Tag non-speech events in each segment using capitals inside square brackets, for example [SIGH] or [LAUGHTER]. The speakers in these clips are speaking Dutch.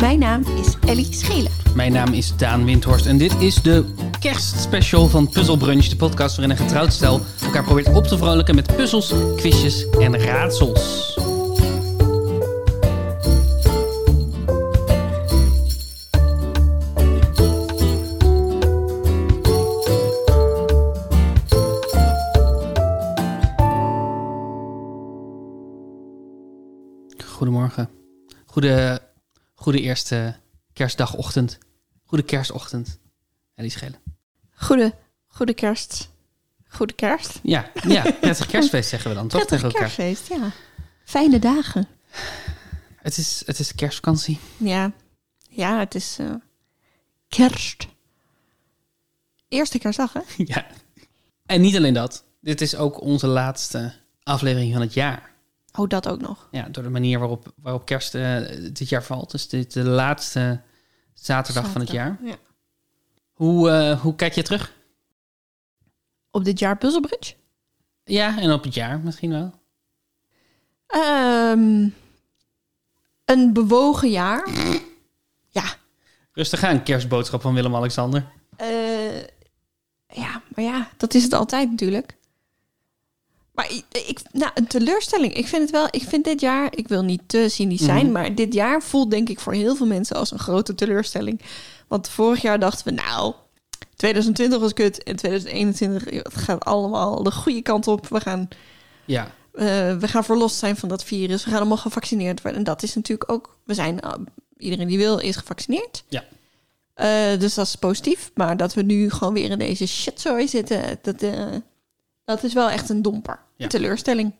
Mijn naam is Ellie Schelen. Mijn naam is Daan Windhorst en dit is de kerstspecial van Puzzle Brunch, de podcast waarin een getrouwd stel elkaar probeert op te vrolijken met puzzels, quizjes en raadsels. Goedemorgen. Goede, goede eerste kerstdagochtend. Goede kerstochtend. En die schelen. Goede, goede kerst. Goede kerst. Ja, ja, prettig kerstfeest zeggen we dan toch tegen Prettig elkaar. kerstfeest, ja. Fijne dagen. Het is, het is kerstvakantie. Ja, ja het is eh, kerst. Eerste kerstdag, hè? [LAUGHS] ja. En niet alleen dat. Dit is ook onze laatste aflevering van het jaar. Oh, dat ook nog. Ja, door de manier waarop, waarop kerst eh, dit jaar valt. Dus dit de laatste zaterdag, van het jaar. Ja. Hoe, eh, hoe kijk je terug? Op dit jaar Puzzlebridge? Ja, en op het jaar misschien wel. Ehm een bewogen jaar. ja, Rustig aan, kerstboodschap van Willem-Alexander. Eh, ja, maar ja, dat is het altijd natuurlijk. Maar ik, ik- nou, een teleurstelling. Ik vind het wel, ik vind dit jaar, ik wil niet te cynisch zijn, Mhm. maar dit jaar voelt denk ik voor heel veel mensen als een grote teleurstelling. Want vorig jaar dachten we, nou, 2020 was kut en 2021 joh, het gaat allemaal de goede kant op. We gaan, Ja, eh, we gaan verlost zijn van dat virus. We gaan allemaal gevaccineerd worden. En dat is natuurlijk ook, we zijn, ah, iedereen die wil is gevaccineerd. ja. Eh, dus dat is positief. Maar dat we nu gewoon weer in deze shitzooi zitten, dat, eh, dat is wel echt een domper. Ja. Een teleurstelling.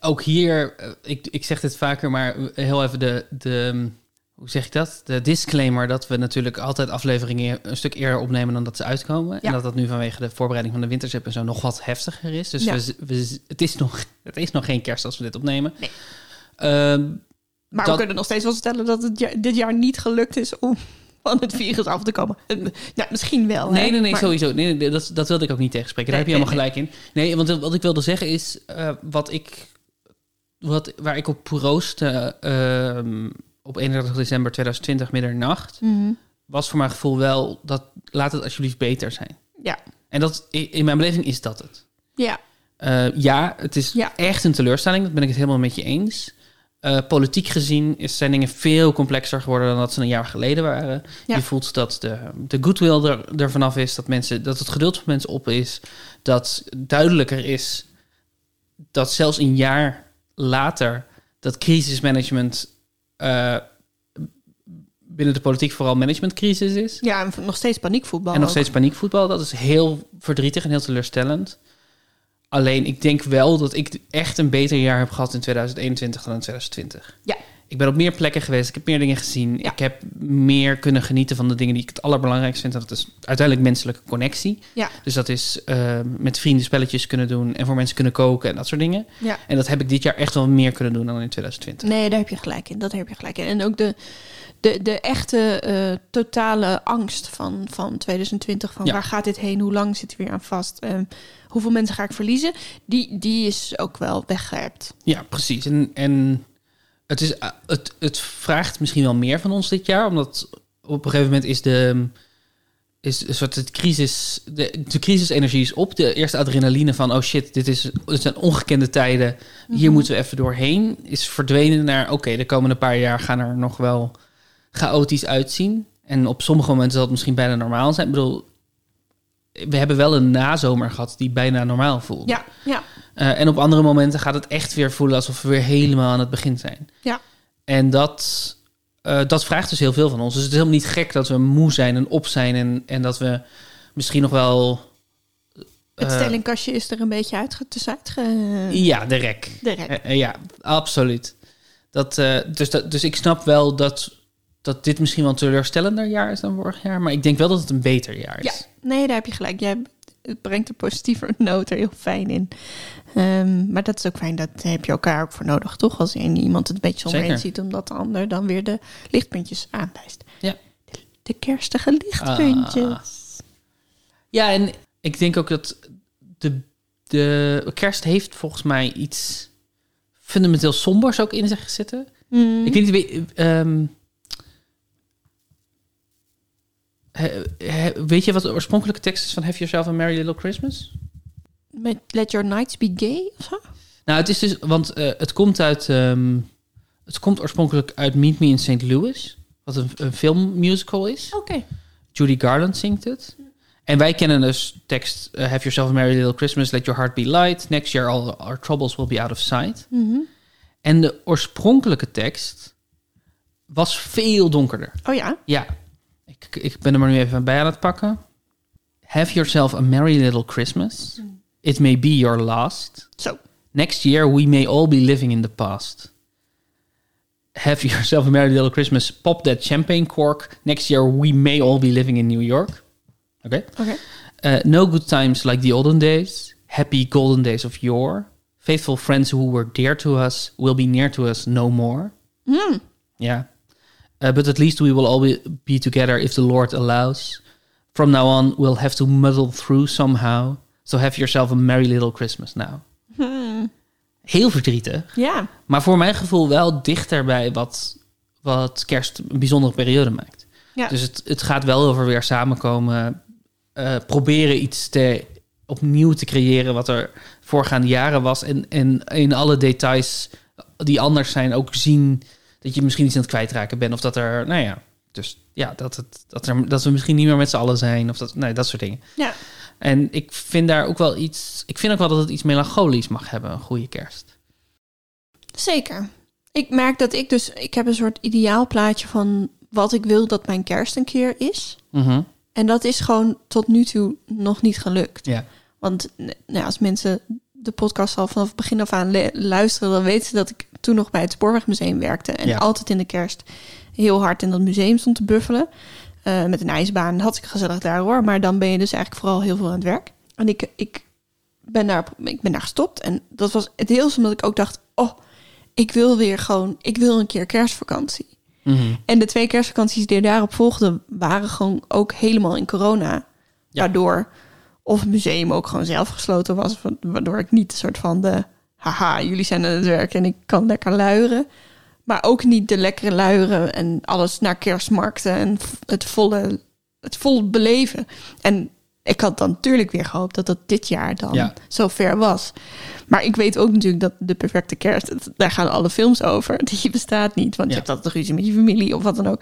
ook hier, eh, ik, ik zeg dit vaker, maar heel even de, de, hm, hoe zeg ik dat? De disclaimer dat we natuurlijk altijd afleveringen e- een stuk eerder opnemen dan dat ze uitkomen. Ja. En dat dat nu vanwege de voorbereiding van de wintersep en zo nog wat heftiger is. Dus Ja. we, z- we, z- het, is nog, [LAUGHS] het is nog geen kerst als we dit opnemen. Nee. Ehm, Maar Dat- we kunnen nog steeds wel vertellen dat het ja- dit jaar niet gelukt is om [LAUGHS] van het virus af te komen. Eh, Nou, misschien wel. Nee, hè? nee, nee, Maar- sowieso. Nee, nee, dat, dat wilde ik ook niet tegenspreken. Daar Nee, heb je helemaal gelijk in. Nee, want wat ik wilde zeggen is, eh, wat ik, wat, waar ik op proostte ehm, op 31 december 2020 middernacht, Mhm. was voor mijn gevoel wel dat laat het alsjeblieft beter zijn. Ja. En dat, i- in mijn beleving is dat het. Ja, Eh, ja, het is Ja. echt een teleurstelling. Dat ben ik het helemaal met je eens. Eh, politiek gezien is, zijn dingen veel complexer geworden dan dat ze een jaar geleden waren. Ja. Je voelt dat de, de goodwill er, er vanaf is, dat, mensen, dat het geduld van mensen op is, dat duidelijker is dat zelfs een jaar later dat crisismanagement eh, binnen de politiek vooral managementcrisis is. ja en v- nog steeds paniekvoetbal. En nog Oh, ook. steeds paniekvoetbal. Dat is heel verdrietig en heel teleurstellend. Alleen ik denk wel dat ik echt een beter jaar heb gehad in 2021 dan in 2020. Ja. Ik ben op meer plekken geweest. Ik heb meer dingen gezien. Ja. Ik heb meer kunnen genieten van de dingen die ik het allerbelangrijkst vind. En dat is uiteindelijk menselijke connectie. Ja. Dus dat is eh, met vrienden spelletjes kunnen doen. En voor mensen kunnen koken en dat soort dingen. Ja. En dat heb ik dit jaar echt wel meer kunnen doen dan in 2020. Nee, daar heb je gelijk in. Dat heb je gelijk in. En ook de, de, de echte eh, totale angst van, van 2020. Van Ja. waar gaat dit heen? Hoe lang zit er weer aan vast? Ehm, hoeveel mensen ga ik verliezen? Die, die is ook wel weggehept. Ja, precies. En, en het, is, eh, het, het vraagt misschien wel meer van ons dit jaar, omdat op een gegeven moment is de is een soort het crisis, de, de crisisenergie is op. De eerste adrenaline van, oh shit, dit, is, dit zijn ongekende tijden. Hier moeten we even doorheen. Is verdwenen naar, oké, de komende paar jaar gaan er nog wel chaotisch uitzien. En op sommige momenten zal het misschien bijna normaal zijn. Ik bedoel, we hebben wel een nazomer gehad die bijna normaal voelt. Ja, ja, Uh, en op andere momenten gaat het echt weer voelen alsof we weer helemaal aan het begin zijn. Ja. En dat, eh, dat vraagt dus heel veel van ons. Dus het is helemaal niet gek dat we moe zijn en op zijn en, en dat we misschien nog wel. het eh, stellingkastje is er een beetje uitge, tussenuit ge- Ja, de rek. de rek. Eh, eh, ja, absoluut. Dat, eh, dus, dat, dus ik snap wel dat, dat dit misschien wel een teleurstellender jaar is dan vorig jaar. Maar ik denk wel dat het een beter jaar Ja, is. nee, daar heb je gelijk. Jij het brengt een positieve [LAUGHS] noot er heel fijn in. Ehm, maar dat is ook fijn, dat heb je elkaar ook voor nodig, toch? Als één iemand het een beetje Zeker. omheen ziet, omdat de ander dan weer de lichtpuntjes aanwijst. Ja. De, de kerstige lichtpuntjes. Ah. Ja, en ik denk ook dat de, de kerst heeft volgens mij iets fundamenteel sombers ook in zich zitten. Mm. Ik weet niet, wie- ehm, he- he- weet je wat de oorspronkelijke tekst is van Have Yourself a Merry Little Christmas? Met Let Your Nights Be Gay of zo? Nou, het is dus, want eh, het komt uit, ehm, het komt oorspronkelijk uit Meet Me in St. Louis, wat een, een filmmusical is. Oké. Judy Garland zingt het. En wij kennen dus tekst eh, Have Yourself a Merry Little Christmas, Let Your Heart Be Light, Next Year All Our Troubles Will Be Out of Sight. Mhm. En de oorspronkelijke tekst was veel donkerder. Oh ja. Ja, ik, ik ben er maar nu even bij aan het pakken. Have yourself a merry little Christmas. It may be your last. Zo. Next year we may all be living in the past. Have [LAUGHS] yourself a merry little Christmas. Pop that champagne cork. Next year we may all be living in New York. Oké. Oké. Uh, no good times like the olden days, happy golden days of yore. Faithful friends who were dear to us will be near to us no more. Yeah. Uh, but at least we will all be, be together if the Lord allows. From now on, we'll have to muddle through somehow. So have yourself a merry little Christmas now. Heel verdrietig. Ja. Maar voor mijn gevoel wel dichter bij wat, wat kerst een bijzondere periode maakt. Ja. Dus het, het gaat wel over weer samenkomen. eh, proberen iets te, opnieuw te creëren wat er voorgaande jaren was. En, en in alle details die anders zijn ook zien dat je misschien iets aan het kwijtraken bent. Of dat er, nou ja, dus ja, dat, het, dat, er, dat we misschien niet meer met z'n allen zijn. Of dat, nee, dat soort dingen. Ja. En ik vind daar ook wel iets, ik vind ook wel dat het iets melancholisch mag hebben, een goede kerst. Zeker. Ik merk dat ik dus... Ik heb een soort ideaal plaatje van wat ik wil dat mijn kerst een keer is. Mhm. En dat is gewoon tot nu toe nog niet gelukt. Ja. Want n- nou, ja, als mensen de podcast al vanaf het begin af aan le- luisteren, dan weten ze dat ik toen nog bij het Spoorwegmuseum werkte. En Ja. altijd in de kerst heel hard in dat museum stond te buffelen. Eh, met een ijsbaan. Had ik gezellig daar hoor. Maar dan ben je dus eigenlijk vooral heel veel aan het werk. En ik, ik, ben, daar, ik ben daar gestopt. En dat was het deels omdat ik ook dacht: oh, ik wil weer gewoon, ik wil een keer kerstvakantie. Mhm. En de twee kerstvakanties die daarop volgden, waren gewoon ook helemaal in corona. Ja. Waardoor of het museum ook gewoon zelf gesloten was. wa- Waardoor ik niet een soort van de haha, jullie zijn aan het werk en ik kan lekker luieren. Maar ook niet de lekkere luieren en alles naar kerstmarkten en v- het volle, het volle beleven. En ik had dan natuurlijk weer gehoopt dat dat dit jaar dan Ja. zo ver was. Maar ik weet ook natuurlijk dat de perfecte kerst, het- daar gaan alle films over. [LAUGHS] Die bestaat niet, want Ja. je hebt altijd ruzie met je familie of wat dan ook.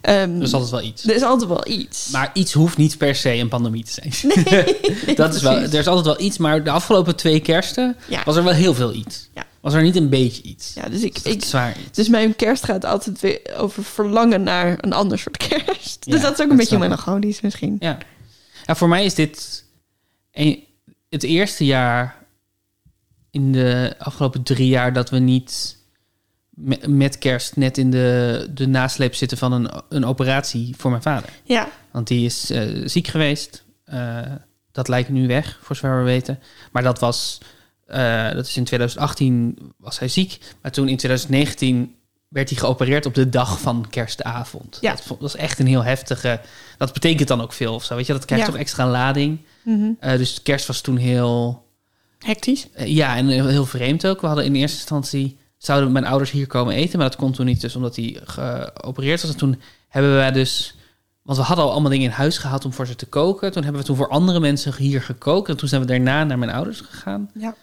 Ehm, Dus dat is wel iets. er is altijd wel iets. [LAUGHS] Maar iets hoeft niet per se een pandemie te zijn. [LAUGHS] dat is wel, precies. er is altijd wel iets, maar de afgelopen twee kersten Ja. was er wel heel veel iets. Ja. Was er niet een beetje iets. ja, dus ik, Dat is ik, zwaar. dus mijn kerst gaat altijd weer over verlangen naar een ander soort kerst. [LAUGHS] Dus Ja, dat is ook dat een beetje snap ik. melancholisch misschien. Ja. ja, voor mij is dit een- het eerste jaar in de afgelopen drie jaar dat we niet me- met kerst net in de, de nasleep zitten van een, een operatie voor mijn vader. Ja, Want die is eh, ziek geweest. Eh, dat lijkt nu weg, voor zover we weten. Maar dat was, eh, dat is in 2018 was hij ziek. Maar toen in 2019 werd hij geopereerd op de dag van kerstavond. Ja. Dat vo- was echt een heel heftige... Dat betekent dan ook veel of zo, weet je? Dat krijgt Ja. toch extra lading. Mhm. Eh, dus kerst was toen heel... hectisch. Eh, Ja, en heel, heel vreemd ook. We hadden in eerste instantie zouden mijn ouders hier komen eten, maar dat kon toen niet, dus omdat hij geopereerd was. En toen hebben wij dus, want we hadden al allemaal dingen in huis gehaald om voor ze te koken. Toen hebben we toen voor andere mensen hier gekookt en toen zijn we daarna naar mijn ouders gegaan. Ja.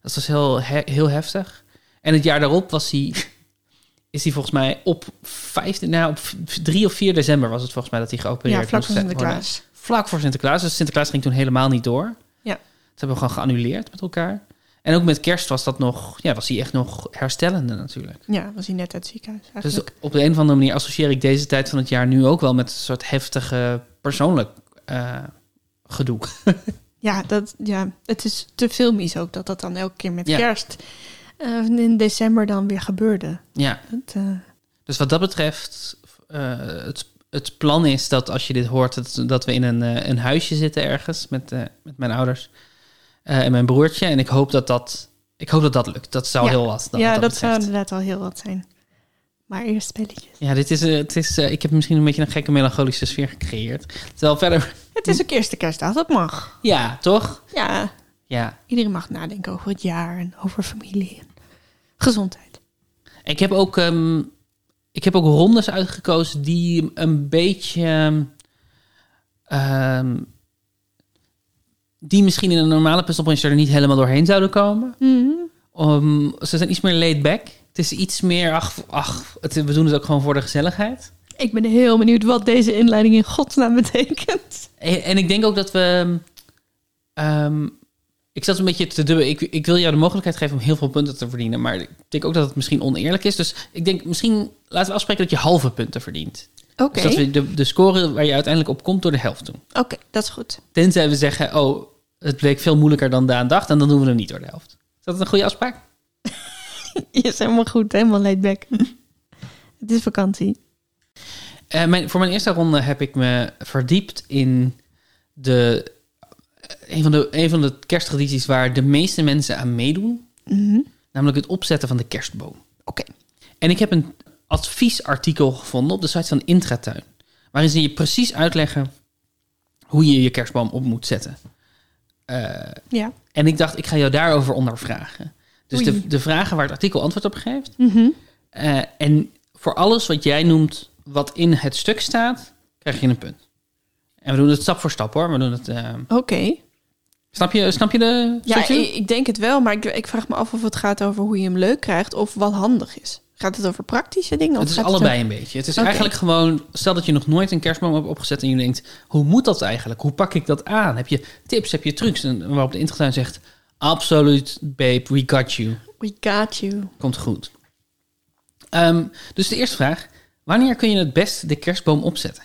Dat was heel, he- heel heftig. En het jaar daarop was hij, is hij volgens mij op 15, nou, op v- 3 of 4 december was het volgens mij dat hij geopereerd Ja, vlak was. voor Sinterklaas. Vlak voor Sinterklaas. Dus Sinterklaas ging toen helemaal niet door. Ja. Dat hebben we gewoon geannuleerd met elkaar. En ook met kerst was dat nog, ja, was hij echt nog herstellende natuurlijk. Ja, was hij net uit het ziekenhuis Dus eigenlijk. op de een of andere manier associeer ik deze tijd van het jaar nu ook wel met een soort heftige persoonlijk eh, gedoe. [LAUGHS] ja, dat, ja, het is te filmisch ook dat dat dan elke keer met Ja. kerst eh, in december dan weer gebeurde. Ja, Dat, eh, dus wat dat betreft, eh, het, het plan is dat als je dit hoort, dat, dat we in een, eh, een huisje zitten ergens met, eh, met mijn ouders eh, en mijn broertje. En ik hoop dat dat, ik hoop dat dat lukt. Dat zou Ja. heel wat. ja, wat dat, zou betreft. inderdaad wel heel wat zijn. Maar eerst spelletjes. Ja, dit is, eh, het is, eh, ik heb misschien een beetje een gekke melancholische sfeer gecreëerd. Terwijl verder... [LAUGHS] Het is ook eerste kerstdag, dat mag. Ja, toch? Ja, Ja. iedereen mag nadenken over het jaar en over familie en gezondheid. Ik heb ook, ehm, ik heb ook rondes uitgekozen die een beetje... ehm, ehm, die misschien in een normale puzzelbrunch er niet helemaal doorheen zouden komen. Mhm. Om- ze zijn iets meer laid back. Het is iets meer, ach, ach het- we doen het ook gewoon voor de gezelligheid. Ik ben heel benieuwd wat deze inleiding in godsnaam [LAUGHS] betekent. En, en ik denk ook dat we. ehm, ik zat een beetje te dubben. Ik, ik wil jou de mogelijkheid geven om heel veel punten te verdienen. Maar ik denk ook dat het misschien oneerlijk is. Dus ik denk misschien laten we afspreken dat je halve punten verdient. Oké, Dus dat we de, de score waar je uiteindelijk op komt door de helft doen. oké, dat is [LAUGHS] goed. Tenzij we zeggen, oh, het bleek veel moeilijker dan Daan dacht. En dan doen we hem niet door de helft. Is dat een goede afspraak? Is helemaal goed, helemaal laid [LAUGHS] back. het is vakantie. Eh, mijn, voor mijn eerste ronde heb ik me verdiept in de, eh, een, van de, een van de kersttradities waar de meeste mensen aan meedoen. Mhm. Namelijk het opzetten van de kerstboom. Oké. En ik heb een adviesartikel gevonden op de site van Intratuin. Waarin ze je precies uitleggen hoe je je kerstboom op moet zetten. Eh, Ja. En ik dacht, ik ga jou daarover ondervragen. Dus Oei. de, de vragen waar het artikel antwoord op geeft. Mhm. Eh, en voor alles wat jij noemt, wat in het stuk staat, krijg je een punt. En we doen het stap voor stap hoor. We doen het, eh, Oké. snap, je, snap je de Ja, structuur? ik, ik denk het wel, maar ik, ik vraag me af of het gaat over hoe je hem leuk krijgt of wat handig is. Gaat het over praktische dingen? Of Het is gaat allebei een beetje. Het is Oké. eigenlijk gewoon, stel dat je nog nooit een kerstboom hebt opgezet en je denkt, hoe moet dat eigenlijk? Hoe pak ik dat aan? Heb je tips? Heb je trucs? En waarop de intratuin zegt, absoluut babe, we got you. over- We got you. Komt goed. Ehm, dus de eerste vraag, wanneer kun je het best de kerstboom opzetten?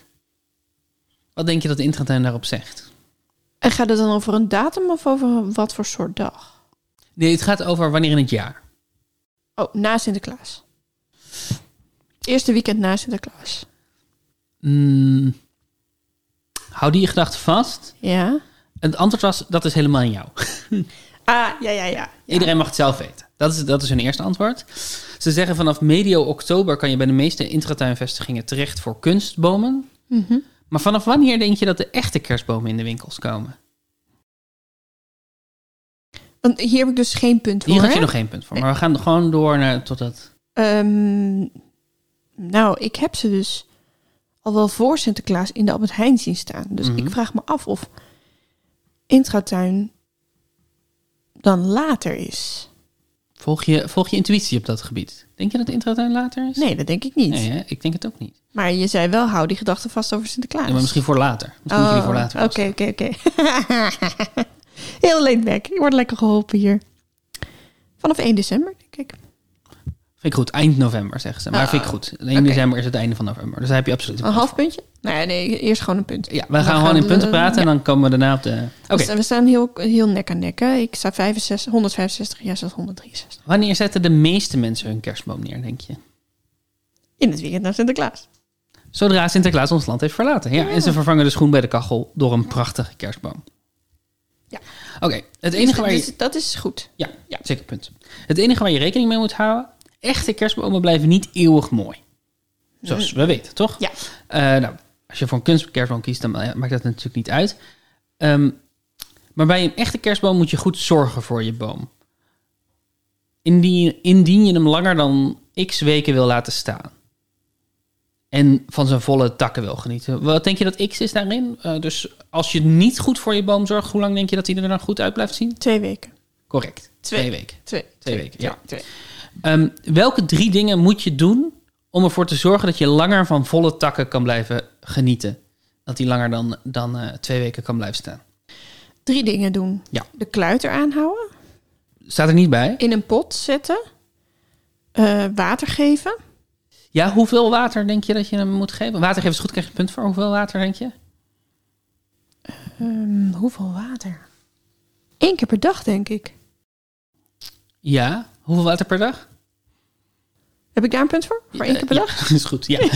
Wat denk je dat de intratuin daarop zegt? En gaat het dan over een datum of over wat voor soort dag? Nee, het gaat over wanneer in het jaar. Oh, na Sinterklaas. Eerste weekend na Sinterklaas. Hmm. Hou die gedachte vast. Ja. Het antwoord was, dat is helemaal aan jou. Ah, ja, ja, ja. Iedereen mag het zelf weten. Dat is, dat is hun eerste antwoord. Ze zeggen vanaf medio oktober kan je bij de meeste intratuinvestigingen terecht voor kunstbomen. Mhm. Maar vanaf wanneer denk je dat de echte kerstbomen in de winkels komen? Want hier heb ik dus geen punt voor. Hier had je hè? nog geen punt voor. Maar we gaan gewoon door naar, tot dat... Ehm, nou, ik heb ze dus al wel voor Sinterklaas in de Albert Heijn zien staan. Dus Mhm. ik vraag me af of Intratuin dan later is. Volg je, volg je intuïtie op dat gebied. Denk je dat de intratuin later is? Nee, dat denk ik niet. Nee, hè? ik denk het ook niet. Maar je zei wel, hou die gedachten vast over Sinterklaas. Ja, maar misschien voor later. Misschien moet je die voor later dus- Oh, Oké, vaststellen. oké, oké. [LAUGHS] Heel laid back. Je wordt lekker geholpen hier. Vanaf 1 december, denk ik. Vind ik goed. Eind november, zeggen ze. Maar Ah, vind ik goed. 1 oké. december is het einde van november. Dus daar heb je absoluut een Een punt half puntje? Nou ja, nee, eerst gewoon een punt. voor. Ja, we gaan gewoon in we- punten praten en dan komen we daarna op de... Oké, Dus We staan- We staan heel, heel nek aan nek. Hè? Ik sta 65, 165, jij staat 163. wanneer zetten de meeste mensen hun kerstboom neer, denk je? In het weekend naar Sinterklaas. Zodra Sinterklaas ons land heeft verlaten. Ja, en ze vervangen de schoen bij de kachel door een prachtige kerstboom. Ja. Oké, het enige waar Dus- je... dus dat is goed. Ja, Ja. zeker punt. Het enige waar je rekening mee moet houden... Echte kerstbomen blijven niet eeuwig mooi. Zoals we weten, toch? Ja. Eh, nou, als je voor een kunstkerstboom kiest, dan ma- maakt dat natuurlijk niet uit. Ehm, maar bij een echte kerstboom moet je goed zorgen voor je boom. Indien, indien je hem langer dan x weken wil laten staan. En van zijn volle takken wil genieten. Wat denk je dat x is daarin? Eh, dus als je niet goed voor je boom zorgt, hoe lang denk je dat hij er dan goed uit blijft zien? Twee weken. Correct. Twee. weken. Twee. Twee weken, ja. Twee. Ehm, welke drie dingen moet je doen om ervoor te zorgen dat je langer van volle takken kan blijven genieten? Dat die langer dan, dan eh, twee weken kan blijven staan. Drie dingen doen. Ja. De kluiter aanhouden. Staat er niet bij? In een pot zetten. eh, water geven. Ja, hoeveel water denk je dat je hem moet geven? Water geven is goed, krijg je een punt voor. Hoeveel water denk je? Ehm, hoeveel water? Eén keer per dag, denk ik. Ja, hoeveel water per dag? Heb ik daar een punt voor? Voor één keer per Eh, ja, [LAUGHS] dag? [LAUGHS] is goed, ja.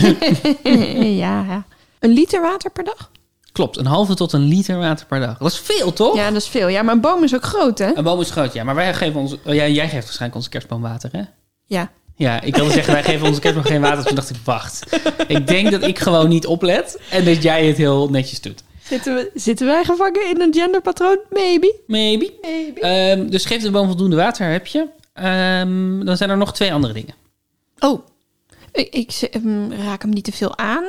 ja, ja. Een liter water per dag? Klopt, een halve tot een liter water per dag. Dat is veel, toch? Ja, dat is veel. Ja, maar een boom is ook groot, hè? Een boom is groot, ja. Maar wij geven ons, oh, ja, jij geeft waarschijnlijk onze kerstboom water, hè? Ja. Ja, ik wilde zeggen, wij geven onze kerstboom geen water. dus Toen dacht ik, wacht. Ik denk dat ik gewoon niet oplet en dat jij het heel netjes doet. Zitten, we, zitten wij gevangen in een genderpatroon? Maybe. Maybe. Maybe. Ehm, dus geef de boom voldoende water, heb je. Ehm, dan zijn er nog twee andere dingen. Oh, ik, ik ze- ehm, raak hem niet te veel aan.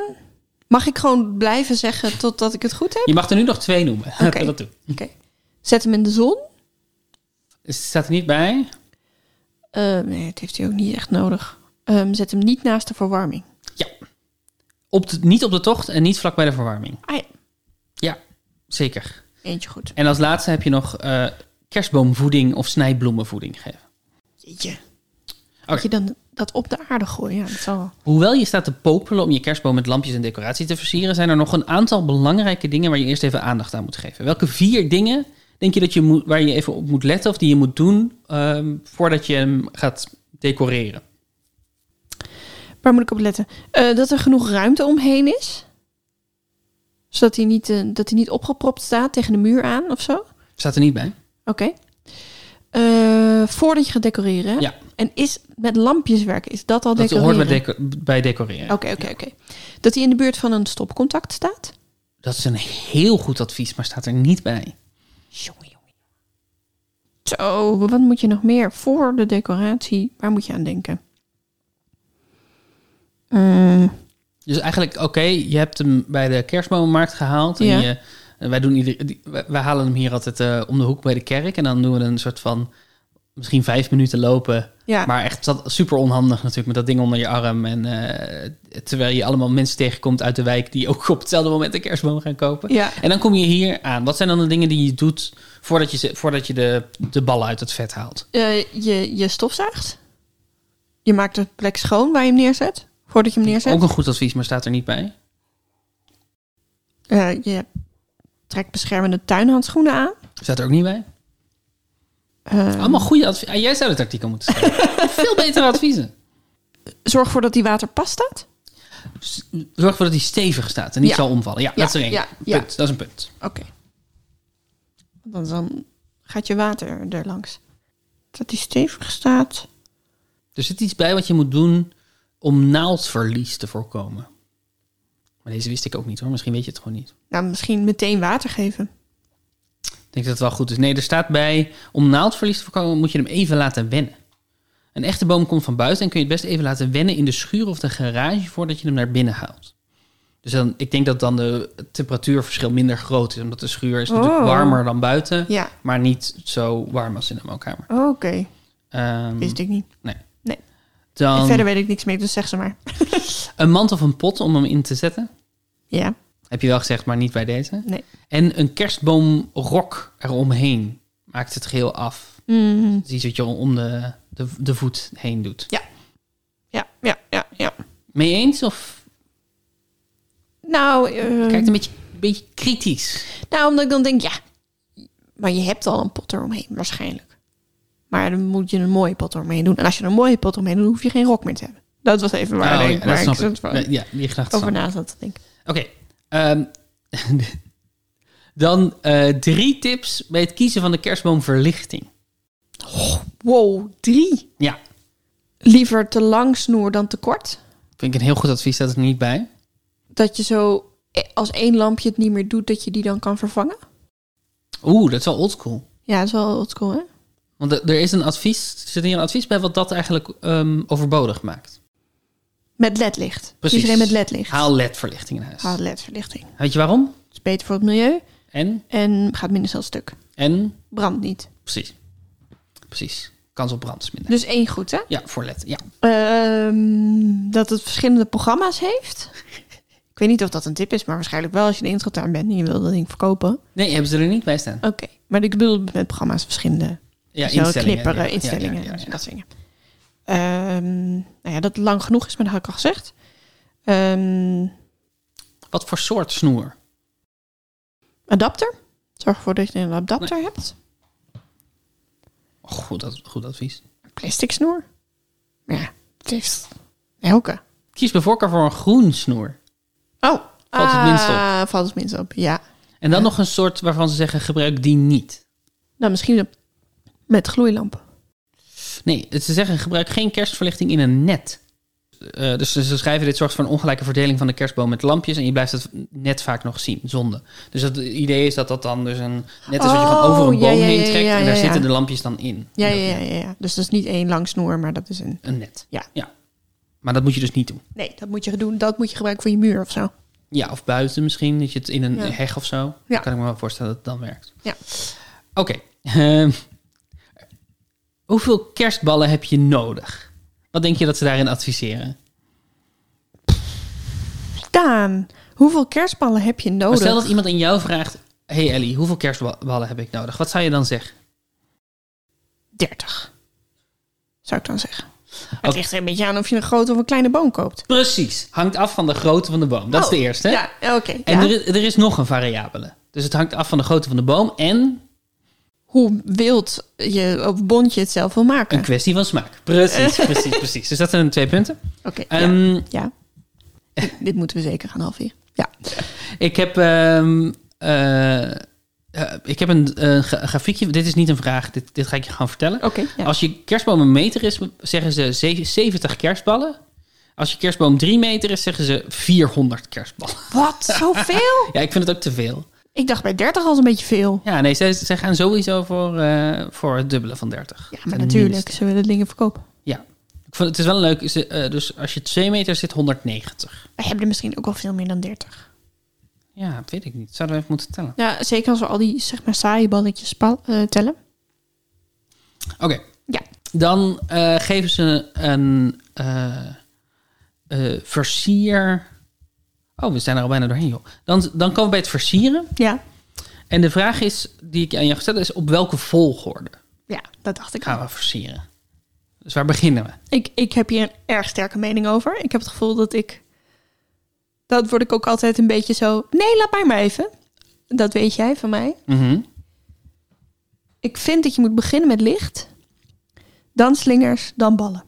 Mag ik gewoon blijven zeggen totdat ik het goed heb? Je mag er nu nog twee noemen. Laten we [LAUGHS] dat doen. Oké. Zet hem in de zon. Dus het staat er niet bij. Eh, nee, dat heeft hij ook niet echt nodig. Ehm, zet hem niet naast de verwarming. Ja. Op de, niet op de tocht en niet vlak bij de verwarming. Ah ja, Ja, zeker. eentje goed. En als laatste heb je nog eh, kerstboomvoeding of snijbloemenvoeding gegeven. Jeetje. Oké. Dat je dan dat op de aarde gooien. Ja, dat zal wel. Hoewel je staat te popelen om je kerstboom met lampjes en decoratie te versieren, zijn er nog een aantal belangrijke dingen waar je eerst even aandacht aan moet geven. Welke vier dingen denk je dat je moet, waar je even op moet letten of die je moet doen ehm, voordat je hem gaat decoreren? Waar moet ik op letten? Eh, dat er genoeg ruimte omheen is. Zodat hij niet, eh, dat hij niet opgepropt staat tegen de muur aan of zo. Oké. Staat er niet bij? Eh, voordat je gaat decoreren. hè? Ja. En is met lampjes werken, is dat al Dat decoreren? Oh. hoort bij, deco- bij decoreren. Oké, oké, oké. Dat hij in de buurt van een stopcontact staat? Dat is een heel goed advies, maar staat er niet bij. Jongen, jongen. Zo, wat moet je nog meer voor de decoratie? Waar moet je aan denken? Mm, Dus eigenlijk, oké, je hebt hem bij de kerstboommarkt gehaald. En Ja. je, en wij, doen ieder, die- wij- wij halen hem hier altijd eh, om de hoek bij de kerk. En dan doen we een soort van misschien vijf minuten lopen. ja, Maar echt dat, super onhandig natuurlijk met dat ding onder je arm. En eh, terwijl je allemaal mensen tegenkomt uit de wijk die ook op hetzelfde moment een kerstboom gaan kopen. ja. En dan kom je hier aan. Wat zijn dan de dingen die je doet voordat je, ze- voordat je de, de ballen uit het vet haalt? Eh, je, je stofzuigt. Je maakt de plek schoon waar je hem neerzet. Voordat je hem neerzet. Ook een goed advies, maar staat er niet bij. Eh, je trekt beschermende tuinhandschoenen aan. Staat er ook niet bij. Eh, Allemaal goede adviezen. jij zou het artikel [LAUGHS] moeten schrijven. Veel betere adviezen. zorg ervoor dat die waterpas staat. S- Zorg ervoor dat hij stevig staat en niet Ja. zal omvallen. Ja, Ja, dat is er één. ja, punt. ja. Dat is een punt. Oké. Want Dan, dan gaat je water er langs. Dat die stevig staat. Er zit iets bij wat je moet doen om naaldverlies te voorkomen. Maar deze wist ik ook niet hoor. Misschien weet je het gewoon niet. Nou, misschien meteen water geven. Ik denk dat het wel goed is. Nee, er staat bij, om naaldverlies te voorkomen moet je hem even laten wennen. Een echte boom komt van buiten en kun je het best even laten wennen in de schuur of de garage voordat je hem naar binnen haalt. Dus dan, ik denk dat dan de het temperatuurverschil minder groot is, omdat de schuur is natuurlijk Oh. warmer dan buiten, Ja, maar niet zo warm als in de woonkamer. oké. Ehm, Wist ik niet. En dan verder weet ik niks meer, dus zeg ze maar. een mand of een pot om hem in te zetten. Ja. Heb je wel gezegd, maar niet bij deze. Nee. En een kerstboomrok eromheen maakt het geheel af. Mhm. Het is iets wat je om de, de, de voet heen doet. Ja, ja, ja, ja. Mee eens of Nou, eh, kijkt een beetje, een beetje kritisch? nou, omdat ik dan denk, ja, maar je hebt al een pot eromheen, waarschijnlijk. Maar dan moet je een mooie pot eromheen doen. En als je er een mooie pot eromheen doet, hoef je geen rok meer te hebben. Dat was even waar, Oh, ik- ja, dat waar ik snap soort ik. van Nee, Ja, die gedachte over snap na ik. zat te denken. Oké. ehm, [LAUGHS] dan eh, drie tips bij het kiezen van de kerstboomverlichting. Wow, drie. Ja, Liever te lang snoer dan te kort. vind ik een heel goed advies, staat er niet bij. Dat je zo, eh, als één lampje het niet meer doet, dat je die dan kan vervangen. Oeh, dat is wel oldschool. Ja, dat is wel oldschool, hè? Want er er is een advies, er zit hier een advies bij wat dat eigenlijk ehm, overbodig maakt. Met ledlicht. Precies. Iedereen met ledlicht. Haal LED-verlichting in huis. Haal ledverlichting. Weet je waarom? Het is beter voor het milieu En? en gaat minder snel stuk. En? Brandt niet. Precies. Precies. Kans op brand is minder. Dus één goed, hè? Ja, voor LED. Ja. Ehm, dat het verschillende programma's heeft. [LAUGHS] Ik weet niet of dat een tip is, maar waarschijnlijk wel als je een intratuin bent en je wil dat ding verkopen. Oké, Nee, hebben ze er niet bij staan. maar ik bedoel met programma's verschillende Ja, Zo knipperen, ja, instellingen ja, ja, eh, ja. dat soort dingen. Ehm, nou ja, dat het lang genoeg is, maar dat had ik al gezegd. Ehm, Wat voor soort snoer? adapter. Zorg ervoor dat je een adapter hebt. Oh, goed, ad- goed advies. Plastic snoer. Maar Ja, het is elke. Kies bij voorkeur voor een groen snoer. Oh, Valt het minst op. ah, Valt het minst op, ja. En dan nog een soort waarvan ze zeggen gebruik die niet. Nou, misschien een- met gloeilampen. Nee, het- ze zeggen gebruik geen kerstverlichting in een net. Eh, dus ze ze schrijven dit zorgt voor een ongelijke verdeling van de kerstboom met lampjes. En je blijft het net vaak nog zien, zonde. Dus het idee is dat dat dan dus een... Net als je gewoon Oh, over een ja, boom ja, heen ja, trekt ja, en ja, daar ja. zitten de lampjes dan in. Ja, Dat- ja, ja, ja. Dus dat is niet één lang snoer, maar dat is een... Een net. Ja. ja. Maar dat moet je dus niet doen. Nee, dat moet je doen. Dat moet je gebruiken voor je muur of zo. Ja, of buiten misschien. Dat je het in een Ja. heg of zo. Ja. Kan ik me wel voorstellen dat het dan werkt. Ja. Oké. ehm, hoeveel kerstballen heb je nodig? Wat denk je dat ze daarin adviseren? Daan, hoeveel kerstballen heb je Maar nodig? stel Oh, dat iemand aan jou vraagt... Hey Ellie, hoeveel kerstballen heb ik nodig? Wat zou je dan zeggen? 30. Zou ik dan zeggen. Het Oké. ligt er een beetje aan of je een grote of een kleine boom koopt. Precies. Hangt af van de grootte van de boom. Dat is de Oh, eerste. Ja, oké. En ja. er, is- er is nog een variabele. Dus het hangt af van de grootte van de boom en Hoe wild je of bond je het zelf wil maken. een kwestie van smaak. [LAUGHS] Precies, precies, precies. Dus dat zijn de twee punten. Oké, ja. Ehm, ja. Dit- Dit moeten we zeker gaan halveren. Ja. Ik heb, ehm, eh, eh, ik heb een, eh, gra- grafiekje. Dit is niet een vraag, dit, dit ga ik je gaan vertellen. Oké. ja. Als je kerstboom een meter is, zeggen ze ze- 70 kerstballen. Als je kerstboom 3 meter is, zeggen ze 400 kerstballen. Wat? [LAUGHS] Zoveel? Ja, ik vind het ook te veel. ik dacht bij 30 al een beetje veel. Ja, nee, ze, ze gaan sowieso voor, eh, voor het dubbele van 30. Ja, maar Ten natuurlijk. minste. Ze willen dingen verkopen. Ja. Ik vond, het is wel leuk. Ze, eh, dus als je 2 meter zit, 190. We hebben er misschien ook wel veel meer dan 30. Ja, weet ik niet. Zouden we even moeten tellen. Ja, zeker als we al die zeg maar saaie balletjes pa- eh, tellen. Oké. Ja. Dan eh, geven ze een eh, eh, versier. Oh, we zijn er al bijna doorheen, joh. Dan, dan komen we bij het versieren. Ja. En de vraag is, die ik aan jou gesteld is: op welke volgorde Ja, dat dacht ik al. gaan we versieren? Dus waar beginnen we? Ik, ik heb hier een erg sterke mening over. Ik heb het gevoel dat ik... Dat word ik ook altijd een beetje zo... Nee, laat mij maar even. Dat weet jij van mij. Mhm. Ik vind dat je moet beginnen met licht. Dan slingers, dan ballen.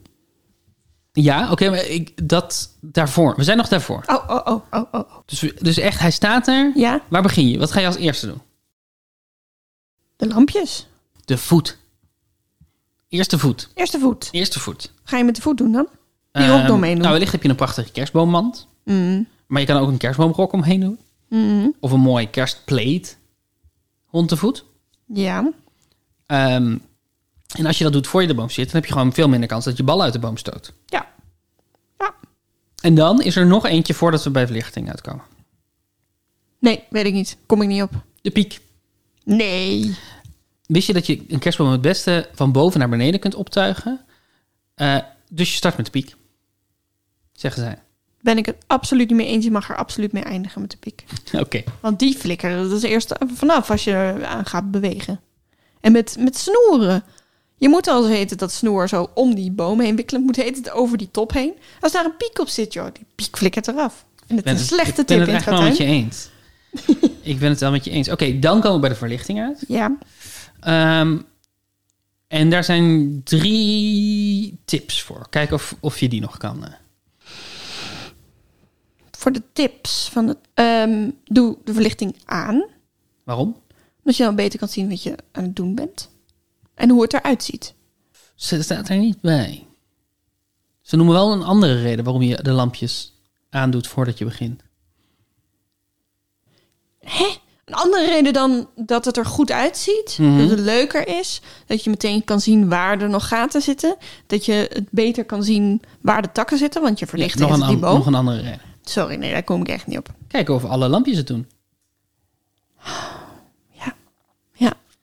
Ja, oké, maar ik, dat daarvoor. We zijn nog daarvoor. Oh, oh, oh, oh, oh. oh. Dus, we- dus echt, hij staat er. Ja, Waar begin je? Wat ga je als eerste doen? de lampjes. De voet. Eerste voet. Eerste voet. Eerste voet. Ga je met de voet doen dan? Die Ehm, rok omheen doen. Nou, wellicht heb je een prachtige kerstboommand. Mm. Maar je kan ook een kerstboomrok omheen doen. Mm. Of een mooie kerstpleed. Rond de voet. Ja. Ehm, en als je dat doet voor je de boom zit, dan heb je gewoon veel minder kans dat je bal uit de boom stoot. Ja. Ja. En dan is er nog eentje voordat we bij verlichting uitkomen. Nee, weet ik niet. Kom ik niet op. De piek. Nee. Wist je dat je een kerstboom het beste van boven naar beneden kunt optuigen? Eh, dus je start met de piek. Zeggen zij. [LAUGHS] Ben ik het absoluut niet mee eens. Je mag er absoluut mee eindigen met de piek. Oké. Want die flikkeren, dat is eerst vanaf als je er aan gaat bewegen. En met, met snoeren. Je moet al eens heten dat snoer zo om die boom heen wikkelen. Moet heet het over die top heen. Als daar een piek op zit, joh, die piek flikkert eraf. En het Ik ben is een het- slechte Ik ben tip het in het echt wel met je tuin. [LAUGHS] eens. ik ben het wel met je eens. Oké, dan komen we bij de verlichting uit. Ja, Ehm, en daar zijn drie tips voor. Kijk of, of je die nog kan. eh. voor de tips van het... ehm, doe de verlichting aan. Waarom? Omdat je dan beter kan zien wat je aan het doen bent. En hoe het eruit ziet. Ze staat er niet bij. Ze noemen wel een andere reden waarom je de lampjes aandoet voordat je begint. Een andere reden dan dat het er goed uitziet, Mhm. dat het leuker is, dat je meteen kan zien waar er nog gaten zitten, dat je het beter kan zien waar de takken zitten, want je verlicht nog, heeft een, die an- boom. nog een andere reden. Sorry, nee, daar kom ik echt niet op. Kijken of alle lampjes het doen. Ja,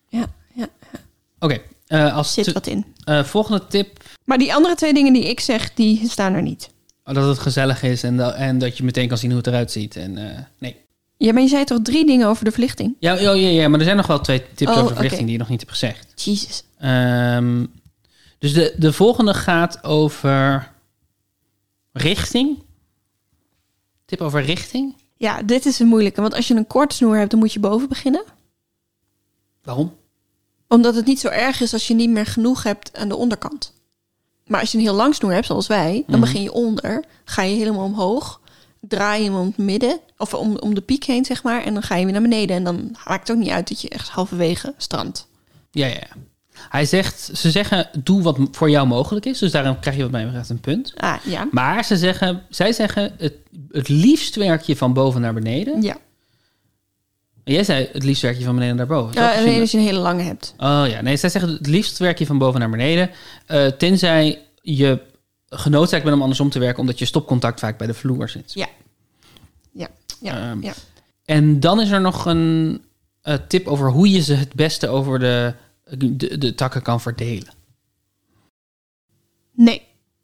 ja, ja, Oké, eh, als zit te- wat in. eh, volgende tip. Maar die andere twee dingen die ik zeg, die staan er niet. Dat het gezellig is en, da- en dat je meteen kan zien hoe het eruit ziet. En, eh, nee. Ja, maar je zei toch drie dingen over de verlichting? Ja, ja, ja, ja, maar er zijn nog wel twee tips Oh, over de verlichting oké. die je nog niet hebt gezegd. Jezus. Ehm, dus de, de volgende gaat over richting. Tip over richting. Ja, dit is een moeilijke, want als je een kort snoer hebt, dan moet je boven beginnen. Waarom? Omdat het niet zo erg is als je niet meer genoeg hebt aan de onderkant. Maar als je een heel lang snoer hebt, zoals wij, dan begin je onder, ga je helemaal omhoog, draai je hem om het midden, of om, om de piek heen, zeg maar, en dan ga je weer naar beneden. En dan maakt het ook niet uit dat je echt halverwege strandt. Ja, ja, ja. Hij zegt, ze zeggen, doe wat m- voor jou mogelijk is. Dus daarom krijg je wat mij betreft een punt. Ah, ja. Maar ze zeggen, zij zeggen, het, het liefst werk je van boven naar beneden. Ja. Maar Jij zei, het liefst werk je van beneden naar boven. Is dat Eh, alleen gezien? als je een hele lange hebt. Oh ja, nee, zij zeggen het liefst werk je van boven naar beneden. eh, tenzij je genoodzaakt bent om andersom te werken, omdat je stopcontact vaak bij de vloer zit. Ja. Ja. Ja, Ehm, ja. En dan is er nog een eh, tip over hoe je ze het beste over de, de, de takken kan verdelen. Nee,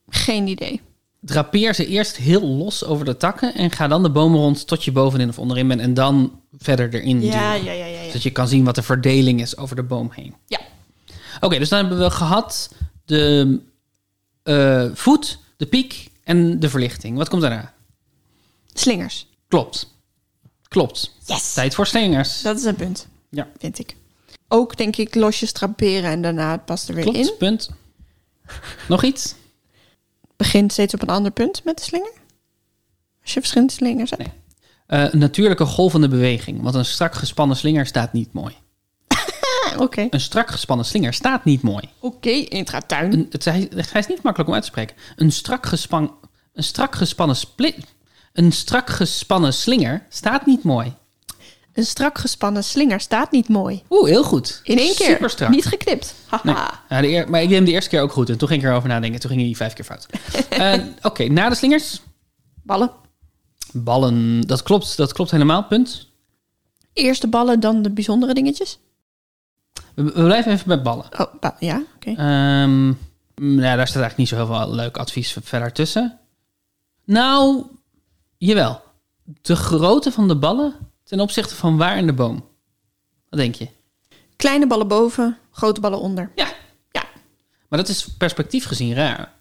geen idee. Drapeer ze eerst heel los over de takken en ga dan de bomen rond tot je bovenin of onderin bent en dan verder erin Ja, duwen. ja, ja, ja. ja. Zodat je kan zien wat de verdeling is over de boom heen. Ja. Oké, dus dan hebben we gehad de eh, voet, de piek en de verlichting. Wat komt daarna? Slingers. Klopt. Klopt. Yes! Tijd voor slingers. Dat is een punt. Ja. Vind ik. Ook denk ik losjes traperen en daarna het past er weer Klopt, in. punt. Nog iets? Begint steeds op een ander punt met de slinger. Als je verschillende slingers hebt. Nee. Eh, natuurlijke golvende beweging, want een strak gespannen slinger staat niet mooi. Ah, Oké. Oké, Een strak gespannen slinger staat niet mooi. intratuin. Een, het, hij, hij is niet makkelijk om uit te spreken. Een strak, gespan, een strak gespannen spli- Een strak gespannen slinger staat niet mooi. Een strak gespannen slinger staat niet mooi. Oeh, heel goed. In één keer. Super strak. Niet geknipt. Haha. Nee. Ja, de eer- maar ik deed hem de eerste keer ook goed. En toen ging ik erover nadenken. Toen ging hij vijf keer fout. Eh, Oké, na de slingers. Ballen. Ballen. Dat klopt. Dat klopt helemaal. Punt. Eerst de ballen, dan de bijzondere dingetjes. We, we blijven even bij ballen. Oh, ba- ja, oké. Ehm, mm, nou, daar staat eigenlijk niet zo heel veel leuk advies verder tussen. Nou, jawel. De grootte van de ballen ten opzichte van waar in de boom. Wat denk je? Kleine ballen boven, grote ballen onder. Ja. Ja, Maar dat is perspectief gezien raar.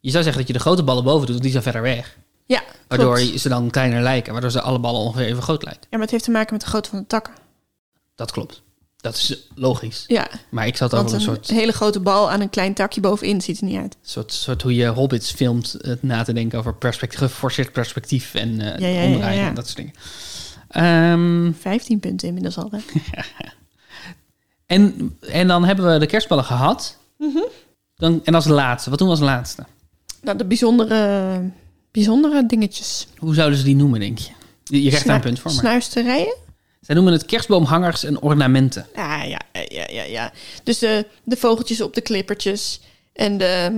Je zou zeggen dat je de grote ballen boven doet, want die zijn verder weg. ja Waardoor klopt. je ze dan kleiner lijken, waardoor ze alle ballen ongeveer even groot lijken. Ja, maar het heeft te maken met de grootte van de takken. Dat klopt. Dat is logisch. Ja, Maar ik zat want over een een soort, hele grote bal aan een klein takje bovenin ziet er niet uit. soort, soort hoe je hobbits filmt, het na te denken over perspectief, geforceerd perspectief en eh, Ja, ja, ja, omdraaien ja. en dat soort dingen. Ehm, 15 punten inmiddels al. hè? En, en dan hebben we de kerstballen gehad. Mhm. Dan, en als laatste, wat doen we als laatste? Nou, de bijzondere, bijzondere dingetjes. Hoe zouden ze die noemen, denk je? Je, je krijgt daar een punt voor, maar... Snuisterijen? Zij noemen het kerstboomhangers en ornamenten. Ah, ja, eh, ja, ja, ja. Dus de, de vogeltjes op de klippertjes. En de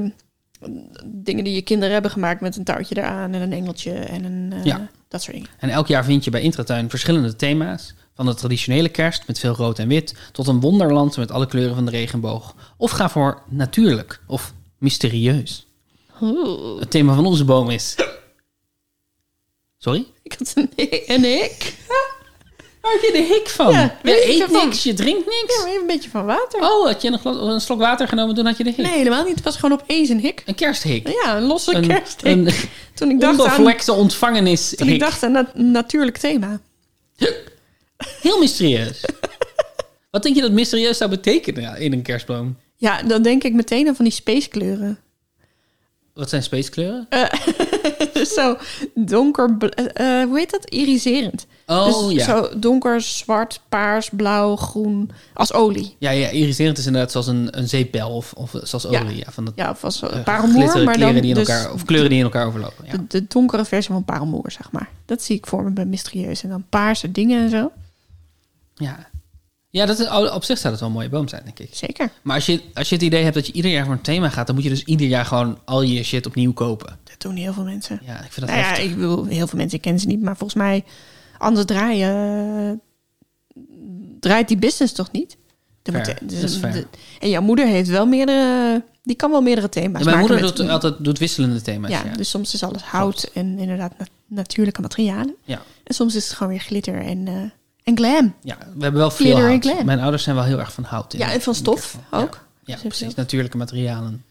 mm, dingen die je kinderen hebben gemaakt met een touwtje eraan. En een engeltje en een... eh, Ja. Dat soort dingen. En elk jaar vind je bij Intratuin verschillende thema's. Van de traditionele kerst met veel rood en wit... tot een wonderland met alle kleuren van de regenboog. Of ga voor natuurlijk of mysterieus. Oeh, Het thema van onze boom is... Sorry? ik had een [LAUGHS] hik. Een hik. Waar heb je de hik van? Ja, weet je ik eet ervan. niks, je drinkt niks. Ja, maar even een beetje van water. Oh, had je een, glas- een slok water genomen toen had je de hik. Nee, helemaal niet. Het was gewoon opeens een hik. Een kersthik. Ja, een losse een, kersthik. Een toen ik dacht aan, onbevlekte ontvangenis. toen ik dacht aan dat natuurlijk thema. Heel [LAUGHS] mysterieus. Wat denk je dat mysterieus zou betekenen ja, in een kerstboom? Ja, dan denk ik meteen aan van die spacekleuren. [LAUGHS] Wat zijn spacekleuren? Dus zo donker, bl- eh, eh, hoe heet dat? Iriserend. Oh dus ja. Zo donker, zwart, paars, blauw, groen. Als olie. ja. Ja, iriserend is inderdaad zoals een, een zeepbel of, of zoals Ja. olie. Ja, van dat Ja, of als eh, uh, glitterende parelmoer. Maar dan kleren die in dus elkaar, of kleuren die in elkaar overlopen. Ja. de, de donkere versie van parelmoer, zeg maar. Dat zie ik voor me bij mysterieus. En dan paarse dingen en zo. Ja. Ja, dat is, oh, op zich zou dat wel een mooie boom zijn, denk ik. Zeker. Maar als je, als je het idee hebt dat je ieder jaar voor een thema gaat, dan moet je dus ieder jaar gewoon al je shit opnieuw kopen. Dat doen heel veel mensen. Ja, ik vind dat nou ja, heftig. ik bedoel, heel veel mensen kennen ze niet. Maar volgens mij, anders draaien... eh, draait die business toch niet? Dan Fair. Dat is fair. en jouw moeder heeft wel meerdere... Die kan wel meerdere thema's Ja, mijn maken moeder met- doet altijd doet wisselende thema's. Ja, ja. dus soms is alles hout en inderdaad na- natuurlijke materialen. Ja. En soms is het gewoon weer glitter en, eh, en glam. Ja, we hebben wel veel Glitter en hout. glam. Mijn ouders zijn wel heel erg van hout. in Ja, de- en van in de stof kerstboom. ook. Ja, ja Dus heel precies. veel Natuurlijke materialen.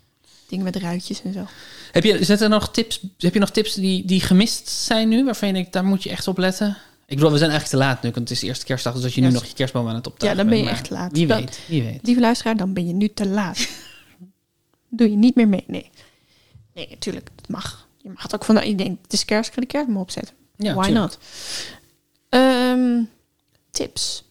Dingen met ruitjes en zo. Heb je, zijn er nog tips, heb je nog tips die, die gemist zijn nu? Waarvan je denkt, daar moet je echt op letten? Ik bedoel, we zijn eigenlijk te laat nu. Want het is de eerste kerstdag. Dus dat je nu Ja, nog je kerstboom aan het optuigen Ja, dan ben je bent, maar echt te laat. Wie Dat- weet, wie weet. Lieve luisteraar, dan ben je nu te [LAUGHS] laat. Doe je niet meer mee. Nee, nee natuurlijk, dat mag. Je mag het ook van, je denkt, het is kerst, ik ga de kerstboom opzetten. Ja, Why tuurlijk. not? Ehm, tips.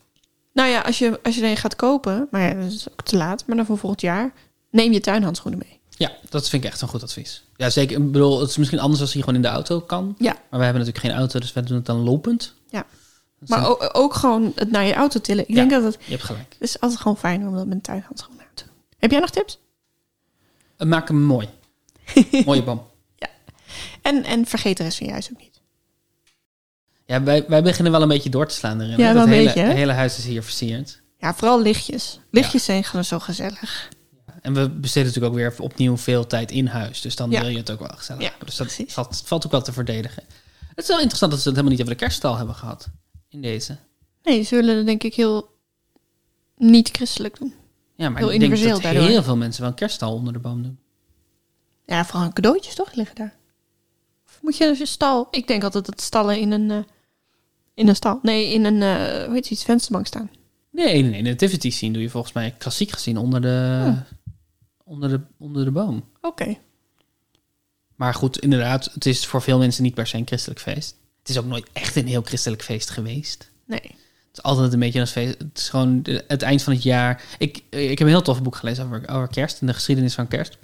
Nou ja, als je, als je er een gaat kopen, maar ja, dat is ook te laat, maar dan voor volgend jaar, neem je tuinhandschoenen mee. Ja, dat vind ik echt een goed advies. Ja, zeker. Ik bedoel, het is misschien anders als je gewoon in de auto kan. Ja, Maar wij hebben natuurlijk geen auto, dus wij doen het dan lopend. Ja. Dat maar zijn- ook, ook gewoon het naar je auto tillen. Ik Ja. denk dat het, je hebt gelijk. het is altijd gewoon fijn om dat met een tuinhandschoen aan te doen. Heb jij nog tips? Eh, Maak hem [LAUGHS] mooi. Mooie boom. En, en vergeet de rest van je huis ook niet. Ja, wij, wij beginnen wel een beetje door te slaan erin. Ja, hè? wel dat een hele, beetje, hè? hele huis is hier versierd. Ja, vooral lichtjes. Lichtjes zijn gewoon zo gezellig. En we besteden natuurlijk ook weer opnieuw veel tijd in huis. Dus dan Ja. wil je het ook wel gezellig Ja, hebben. Dus dat precies. valt, valt ook wel te verdedigen. Het is wel interessant dat ze het helemaal niet over de kerststal hebben gehad. In deze. Nee, ze willen het denk ik heel niet christelijk doen. Ja, maar Heel ik denk universeel dat daardoor. heel veel mensen wel een kerststal onder de boom doen. Ja, vooral cadeautjes toch liggen daar. Of moet je dus een stal? Ik denk altijd dat stallen in een... eh, in een stal. Nee, in een, eh hoe heet het, iets, vensterbank staan. Nee, nee, nee. Nativity scene doe je volgens mij klassiek gezien onder de, Hm. onder de, onder de boom. Oké. Maar goed, inderdaad, het is voor veel mensen niet per se een christelijk feest. Het is ook nooit echt een heel christelijk feest geweest. Nee. Het is altijd een beetje een feest. Het is gewoon de- het eind van het jaar. Ik, ik heb een heel tof boek gelezen over, over kerst en de geschiedenis van kerst.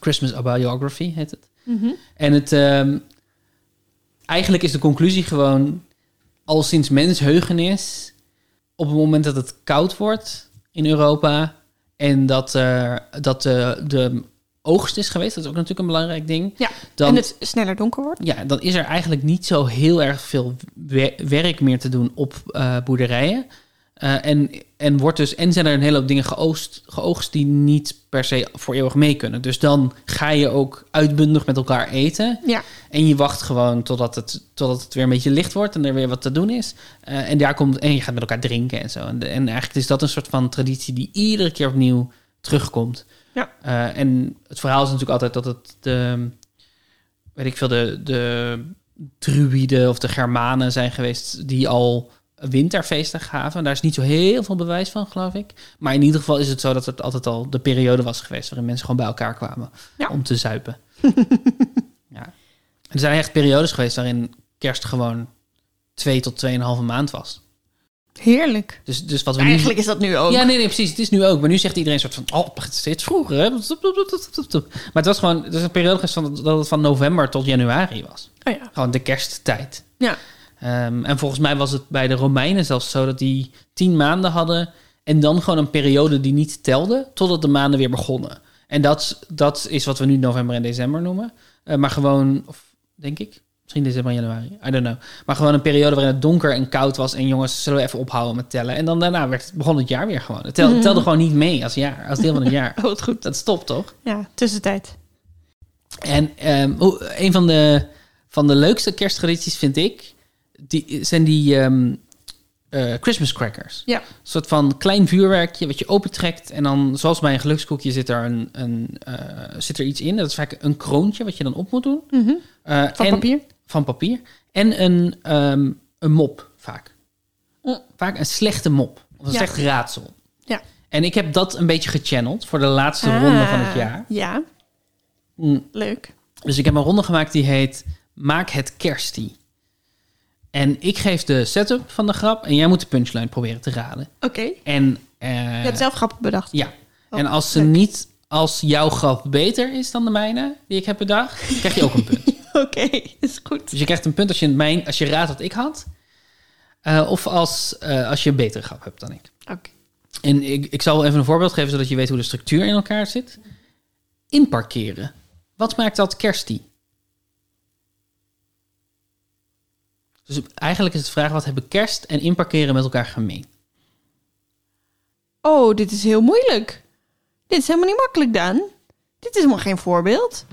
Christmas A Biography heet het. Mhm. En het, ehm, eigenlijk is de conclusie gewoon... al sinds mensheugenis... op het moment dat het koud wordt in Europa... en dat, er dat de, de oogst is geweest... dat is ook natuurlijk een belangrijk ding... Ja, dan, en het sneller donker wordt. ja, dan is er eigenlijk niet zo heel erg veel wer- werk meer te doen op eh, boerderijen. Eh, en, en, wordt dus, en zijn er een hele hoop dingen geoogst, geoogst die niet per se voor eeuwig mee kunnen. Dus dan ga je ook uitbundig met elkaar eten. Ja. En je wacht gewoon totdat het, totdat het weer een beetje licht wordt en er weer wat te doen is. Eh, en, daar komt, en je gaat met elkaar drinken en zo. En, de- en eigenlijk is dat een soort van traditie die iedere keer opnieuw terugkomt. Ja. Eh, en het verhaal is natuurlijk altijd dat het de, weet ik veel, de, de druïden of de Germanen zijn geweest die al winterfeesten gaven. Daar is niet zo heel veel bewijs van, geloof ik. Maar in ieder geval is het zo dat het altijd al de periode was geweest waarin mensen gewoon bij elkaar kwamen Ja. om te zuipen. [LAUGHS] ja. Er zijn echt periodes geweest waarin kerst gewoon twee tot tweeënhalve maand was. Heerlijk. Dus, dus wat we nu- Eigenlijk is dat nu ook. ja, nee, nee, precies. Het is nu ook. Maar nu zegt iedereen soort van... Oh, het is steeds vroeger, hè? Toep, toep, toep, toep, toep, toep. Maar het was gewoon... Het is een periode geweest van, dat het van november tot januari was. Oh ja. Gewoon de kersttijd. Ja. Ehm, en volgens mij was het bij de Romeinen zelfs zo... dat die tien maanden hadden... en dan gewoon een periode die niet telde... totdat de maanden weer begonnen. En dat, dat is wat we nu november en december noemen. Eh, maar gewoon... Of, denk ik... Misschien december, en januari. I don't know. Maar gewoon een periode waarin het donker en koud was. En jongens, zullen we even ophouden met tellen? En dan daarna werd, begon het jaar weer gewoon. Het tel- het telde gewoon niet mee als jaar, als deel van het jaar. Mhm. [LAUGHS] Oh, wat goed. Dat stopt toch? Ja, tussentijd. En ehm, hoe- een van de, van de leukste kersttradities vind ik... Die, zijn die ehm, eh, Christmas crackers. Ja. Een soort van klein vuurwerkje wat je opentrekt. En dan, zoals bij een gelukskoekje, zit er, een, een, eh, zit er iets in. Dat is vaak een kroontje wat je dan op moet doen. Mhm. Eh, Van en- papier. van papier. En een, ehm, een mop, vaak. Mm. Vaak een slechte mop. Of een Ja. slecht raadsel. Ja. En ik heb dat een beetje gechanneld voor de laatste ronde van het Ah, jaar. Ja, Mm. leuk. Dus ik heb een ronde gemaakt die heet Maak het kerstie. En ik geef de setup van de grap en jij moet de punchline proberen te raden. Oké. En, eh, Je hebt zelf grappig bedacht. ja. Oh, en als ze leuk. niet, als jouw grap beter is dan de mijne, die ik heb bedacht, krijg je ook een punt. [LAUGHS] Oké, is goed. Dus je krijgt een punt als je, mijn, als je raadt wat ik had. Eh, of als, eh, als je een betere grap hebt dan ik. Oké. En ik, ik zal even een voorbeeld geven, zodat je weet hoe de structuur in elkaar zit. Inparkeren. Wat maakt dat kerstie? Dus eigenlijk is het vraag, wat hebben kerst en inparkeren met elkaar gemeen? Oh, dit is heel moeilijk. Dit is helemaal niet makkelijk, Daan. Dit is helemaal geen voorbeeld.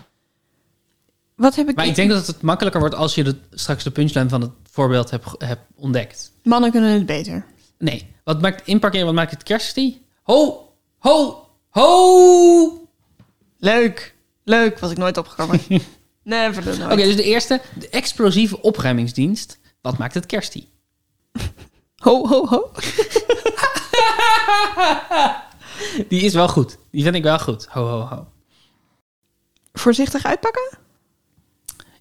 Wat heb ik... Maar ik denk dat het makkelijker wordt als je de, straks de punchline van het voorbeeld hebt ge- hebt ontdekt. Mannen kunnen het beter. Nee. Wat maakt inparkeren, wat maakt het kerstie? Ho! Ho! Ho! Leuk. Leuk, was ik nooit [LAUGHS] opgekomen. Never do nooit. Oké, dus de eerste, de explosieve opruimingsdienst. Wat maakt het kerstie? Ho, ho, ho. Die is wel goed. Die vind ik wel goed. Ho, ho, ho. Voorzichtig uitpakken?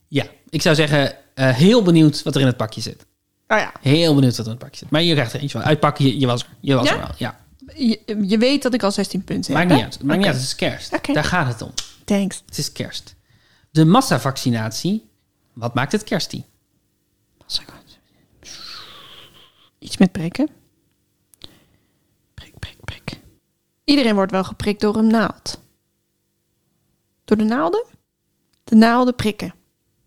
Ja, ik zou zeggen, eh, heel benieuwd wat er in het pakje zit. Oh ja. heel Heel benieuwd wat er in het pakje zit. Maar je krijgt er eentje van. Uitpakken, je, je was er. Je was Ja? er wel, ja. Je, je weet dat ik al 16 punten Maakt heb. niet uit. Maakt niet uit, het is kerst. Oké. Daar gaat het om. uit. Thanks. Het is kerst. De massavaccinatie. Wat maakt het kerstie? Iets met prikken. Prik, prik, prik. Iedereen wordt wel geprikt door een naald. Door de naalden? De naalden prikken.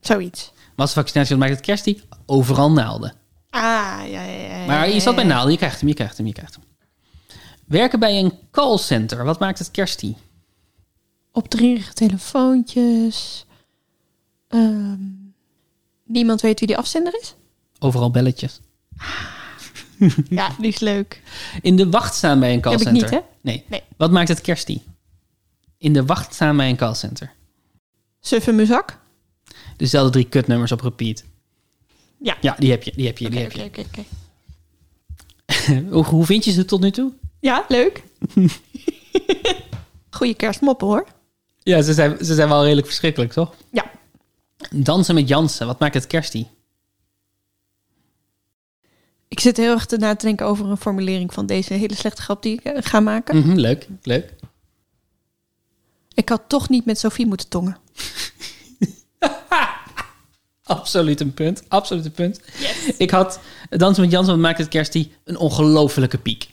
Zoiets. Massavaccinatie, dat maakt het kerst niet. Overal naalden. Ah, ja, ja, ja. ja, Maar je ja, zat bij ja. naalden, je krijgt hem, je krijgt hem, je krijgt hem. Werken bij een callcenter, wat maakt het kerstie? Op drieënige telefoontjes. Ehm, niemand weet wie die afzender is? Overal belletjes. Ja, die is leuk. In de wacht staan bij een ik callcenter. niet, hè? Nee. Nee. Wat maakt het kerstie? In de wacht staan bij een callcenter. Suf in mijn zak? Dezelfde drie kutnummers op repeat. Ja. Ja, die heb je, die heb je, die Oké, heb oké, oké, oké. je. [LAUGHS] Hoe, hoe vind je ze tot nu toe? Ja, [LAUGHS] leuk. Goeie kerstmoppen hoor. Ja, ze zijn, ze zijn wel redelijk verschrikkelijk, toch? Ja. Dansen met Jansen, wat maakt het kerstie? Ik zit heel erg te na te denken over een formulering van deze hele slechte grap die ik eh, ga maken. Mhm, leuk, leuk. Ik had toch niet met Sophie moeten tongen. Absoluut een punt, absoluut een punt. Ik had Dansen met Jansen, wat maakt het kerstie? Een ongelofelijke piek.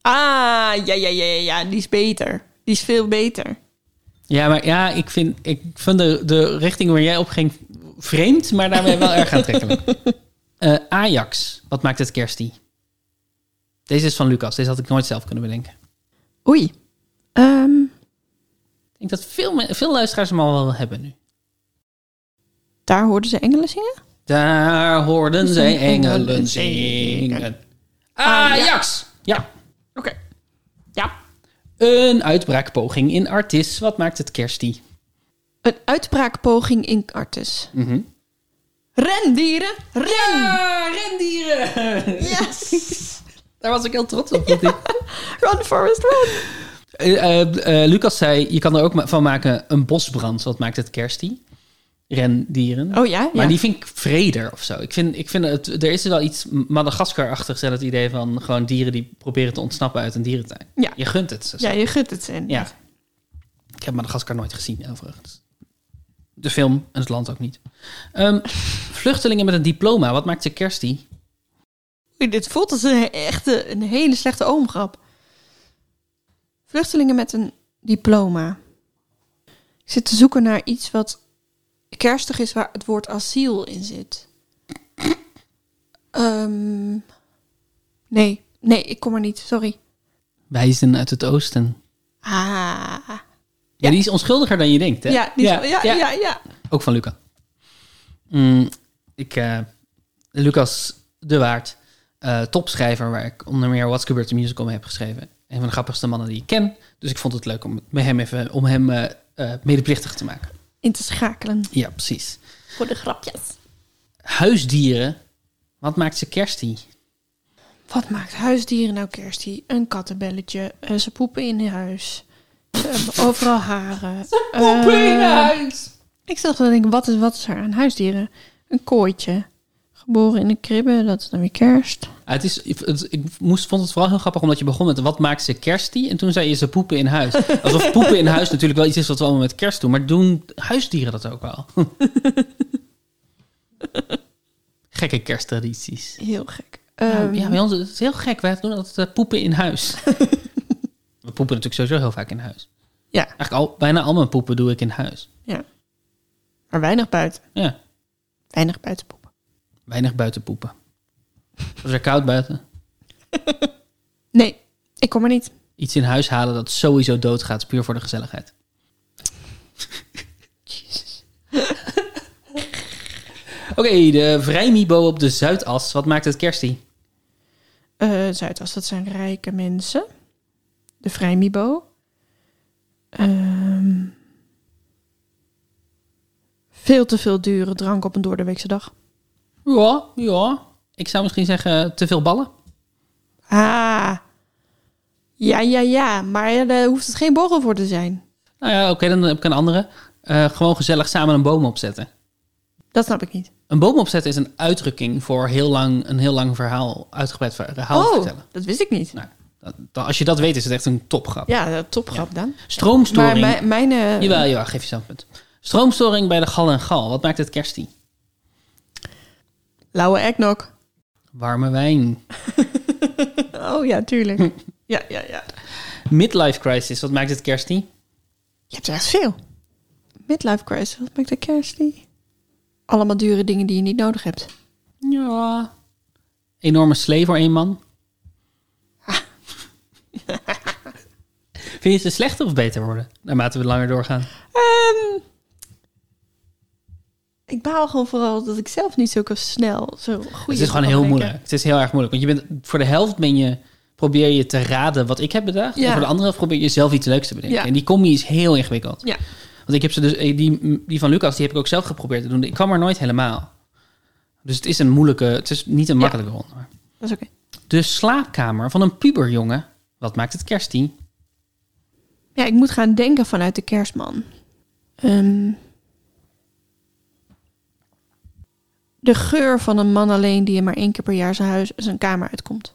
Ah, ja, ja, ja, ja, ja, die is beter. Die is veel beter. Ja, maar ja, ik vind, ik vind de, de richting waar jij op ging vreemd, maar daarmee wel erg aantrekkelijk. [LAUGHS] Eh, Ajax, wat maakt het kerstie? Deze is van Lucas, deze had ik nooit zelf kunnen bedenken. Oei. Ehm, Ik denk dat veel, me- veel luisteraars hem al wel hebben nu. daar hoorden ze engelen zingen? Daar hoorden zij engelen zingen. Ajax! Ja, Oké. Ja. een uitbraakpoging in Artis. Wat maakt het kerstie? Een uitbraakpoging in Artis. Mhm. Rendieren, ren! Ja, Ah, rendieren! Yes! [LAUGHS] Daar was ik heel trots op. dat ik- Run, Forest, run! Eh, eh, eh, Lucas zei, je kan er ook ma- van maken een bosbrand. Wat maakt het kerstie? Rendieren. Oh ja? Maar ja. die vind ik vreder of zo. Ik vind, ik vind het, er is wel iets Madagaskar-achtigs aan het idee van gewoon dieren die proberen te ontsnappen uit een dierentuin. Ja. Je gunt het ze. ja, je gunt het in. Ja. Ik heb Madagaskar nooit gezien, overigens. De film en het land ook niet. [LAUGHS] Ehm, vluchtelingen met een diploma, wat maakt ze kerstie? Oei, Dit voelt als een, echte, een hele slechte oomgrap. Vluchtelingen met een diploma. Ik zit te zoeken naar iets wat kerstig is waar het woord asiel in zit. Ehm, nee, nee, ik kom er niet, sorry. Wijzen uit het oosten. Ah. Ja, die is onschuldiger dan je denkt, hè? Ja, die, ja, ja, ja, ja, Ook van Lucas. Mm, ik, eh, Lucas de Waard, eh, topschrijver waar ik onder meer What's Gebeurd de Musical mee heb geschreven. Een van de grappigste mannen die ik ken. Dus ik vond het leuk om met hem, even, om hem eh, eh, medeplichtig te maken. In te schakelen Ja, precies. voor de grapjes. Huisdieren. Wat maakt ze kerstie? Wat maakt huisdieren nou kerstie? Een kattenbelletje, eh, ze poepen in huis. Ze hebben overal haren. Ze Eh, Ik zat te denken, wat is, wat is er aan huisdieren? Een kooitje. Geboren in een kribbe, dat is dan weer kerst. Ah, het is, het- ik moest, vond het vooral heel grappig omdat je begon met wat maakt ze kerstie? En toen zei je ze poepen in huis. [LAUGHS] Alsof poepen in huis natuurlijk wel iets is wat we allemaal met kerst doen. Maar doen huisdieren dat ook wel? [LAUGHS] Gekke kersttradities. Heel gek. Nou, Ehm, ja, bij ons het is het heel gek. Wij doen altijd eh, poepen in huis. we poepen natuurlijk sowieso heel vaak in huis. Ja. Eigenlijk al, bijna al mijn poepen doe ik in huis. ja. Maar weinig buiten. Ja, Weinig buitenpoepen. weinig buiten poepen. Was er koud buiten? Nee, ik kom er niet. Iets in huis halen dat sowieso doodgaat, puur voor de gezelligheid. Oké, de Vrijmibo op de Zuidas. Wat maakt het kerstie? Eh, Zuidas, dat zijn rijke mensen. De Vrijmibo. Ehm, veel te veel dure drank op een doordeweekse dag. Ja, ja. Ik zou misschien zeggen te veel ballen. Ah. Ja, ja, ja. Maar daar hoeft het geen borrel voor te zijn. Nou ja, oké, dan heb ik een andere. Eh, gewoon gezellig samen een boom opzetten. Dat snap ik niet. Een boom opzetten is een uitdrukking voor heel lang, een heel lang verhaal, uitgebreid verhaal vertellen. Oh, dat wist ik niet. Nou, dat- dat- als je dat weet, is het echt een topgrap. Ja, dat topgrap dan. Maar Stroomstoring. mijn, mijn eh, Jawel, jawel, geef jezelf een punt. Stroomstoring bij de gal en gal. Wat maakt het kerstie? lauwe eggnog. [LAUGHS] Warme wijn. Oh ja, [LAUGHS] tuurlijk. ja, ja, ja. Midlife crisis. Wat maakt het kerstie? Je hebt er echt veel. Midlife crisis, wat maakt de kerst die? allemaal dure dingen die je niet nodig hebt. Ja. Enorme slee voor één man. [LAUGHS] Vind je ze slechter of beter worden? Naarmate we langer doorgaan. Ehm, ik baal gewoon vooral dat ik zelf niet zo snel zo goed het is gewoon heel moeilijk. Het is heel erg moeilijk. Want je bent, voor de helft ben je, probeer je te raden wat ik heb bedacht. Ja. En voor de andere helft probeer je zelf iets leuks te bedenken. Ja. En die combi is heel ingewikkeld. Ja. Want ik heb ze dus, eh, die, die van Lucas, die heb ik ook zelf geprobeerd te doen. Ik kwam er nooit helemaal. Dus het is een moeilijke, het is niet een makkelijke ronde. Dat is oké. De slaapkamer van een puberjongen. Wat maakt het kerstie? Ja, ik moet gaan denken vanuit de kerstman. Ehm, de geur van een man alleen die er maar één keer per jaar zijn huis, zijn kamer uitkomt.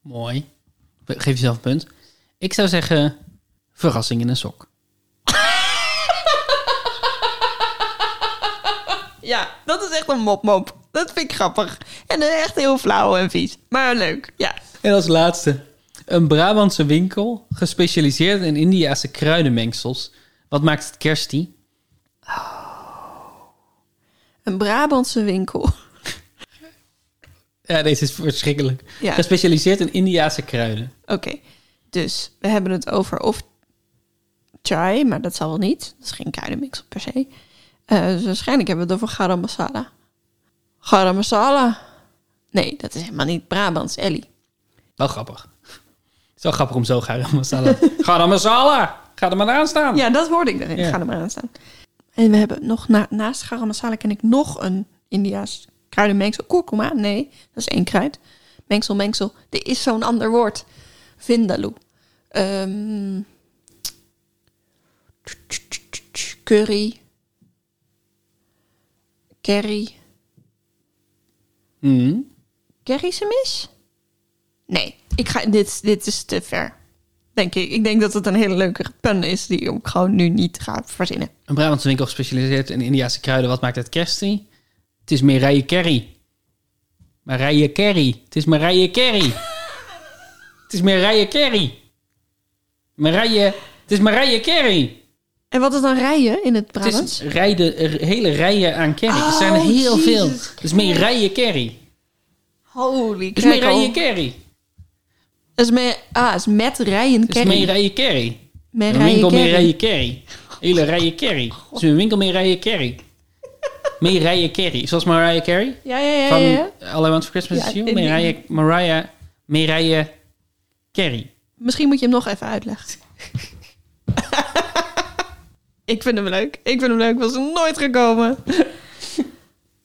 Mooi. Geef jezelf een punt. Ik zou zeggen, verrassing in een sok. Ja, dat is echt een mopmop. Dat vind ik grappig. En echt heel flauw en vies. Maar leuk, ja. En als laatste, een Brabantse winkel gespecialiseerd in Indiase kruidenmengsels. Wat maakt het kerstie? Een Brabantse winkel. Ja, deze is verschrikkelijk. Ja. Gespecialiseerd in Indiase kruiden. Oké, dus we hebben het over of chai, maar dat zal wel niet. Dat is geen kruidenmix per se. Eh, dus waarschijnlijk hebben we het over garam masala. Garam masala? Nee, dat is helemaal niet Brabants, Ellie. Wel grappig. Het is wel grappig om zo garam [LAUGHS] masala. garam masala! Ga er maar aan staan. Ja, dat hoorde ik erin. Ja. Ga er maar aan staan. En we hebben nog na- naast garam masala ken ik nog een Indiaas kruidenmengsel. Kurkuma? Nee, dat is één kruid. Mengsel, mengsel. Er is zo'n ander woord. Vindaloo. Ehm, curry. Curry. Mhm. Kerrysemis? Nee, ik ga, dit, dit is te ver. Denk ik. Ik denk dat het een hele leuke pun is die ik gewoon nu niet ga verzinnen. Een Brabantse winkel gespecialiseerd in Indiase kruiden. Wat maakt het kerstie? Het is Marije Kerry. Marije Kerry. Het is Marije Kerry. het is Marije Kerry. Marije. Het is Marije Kerry. En wat is dan rijden in het Het Brabants? is rijden, er- hele rijen aan Kerry. er Oh, zijn er heel Jezus veel. Het is Marije Kerry. Holy Het is Marije cow. Kerry. Dat is me, ah, het is met rijen Het is kerry. Marije Kerry. Met Een winkel rijen Marije kerry. Kerry. Hele rijen Kerry. Het is een winkel Marije Kerry. Marije Kerry. Zoals Marije Kerry? Ja, ja, ja, Van ja, ja. All I Want For Christmas Eh, Ja, Is You, ik- Mariah, Mariah, Mariah Carey. Misschien moet je hem nog even uitleggen. [LAUGHS] ik vind hem leuk. Ik vind hem leuk. Was er nooit gekomen.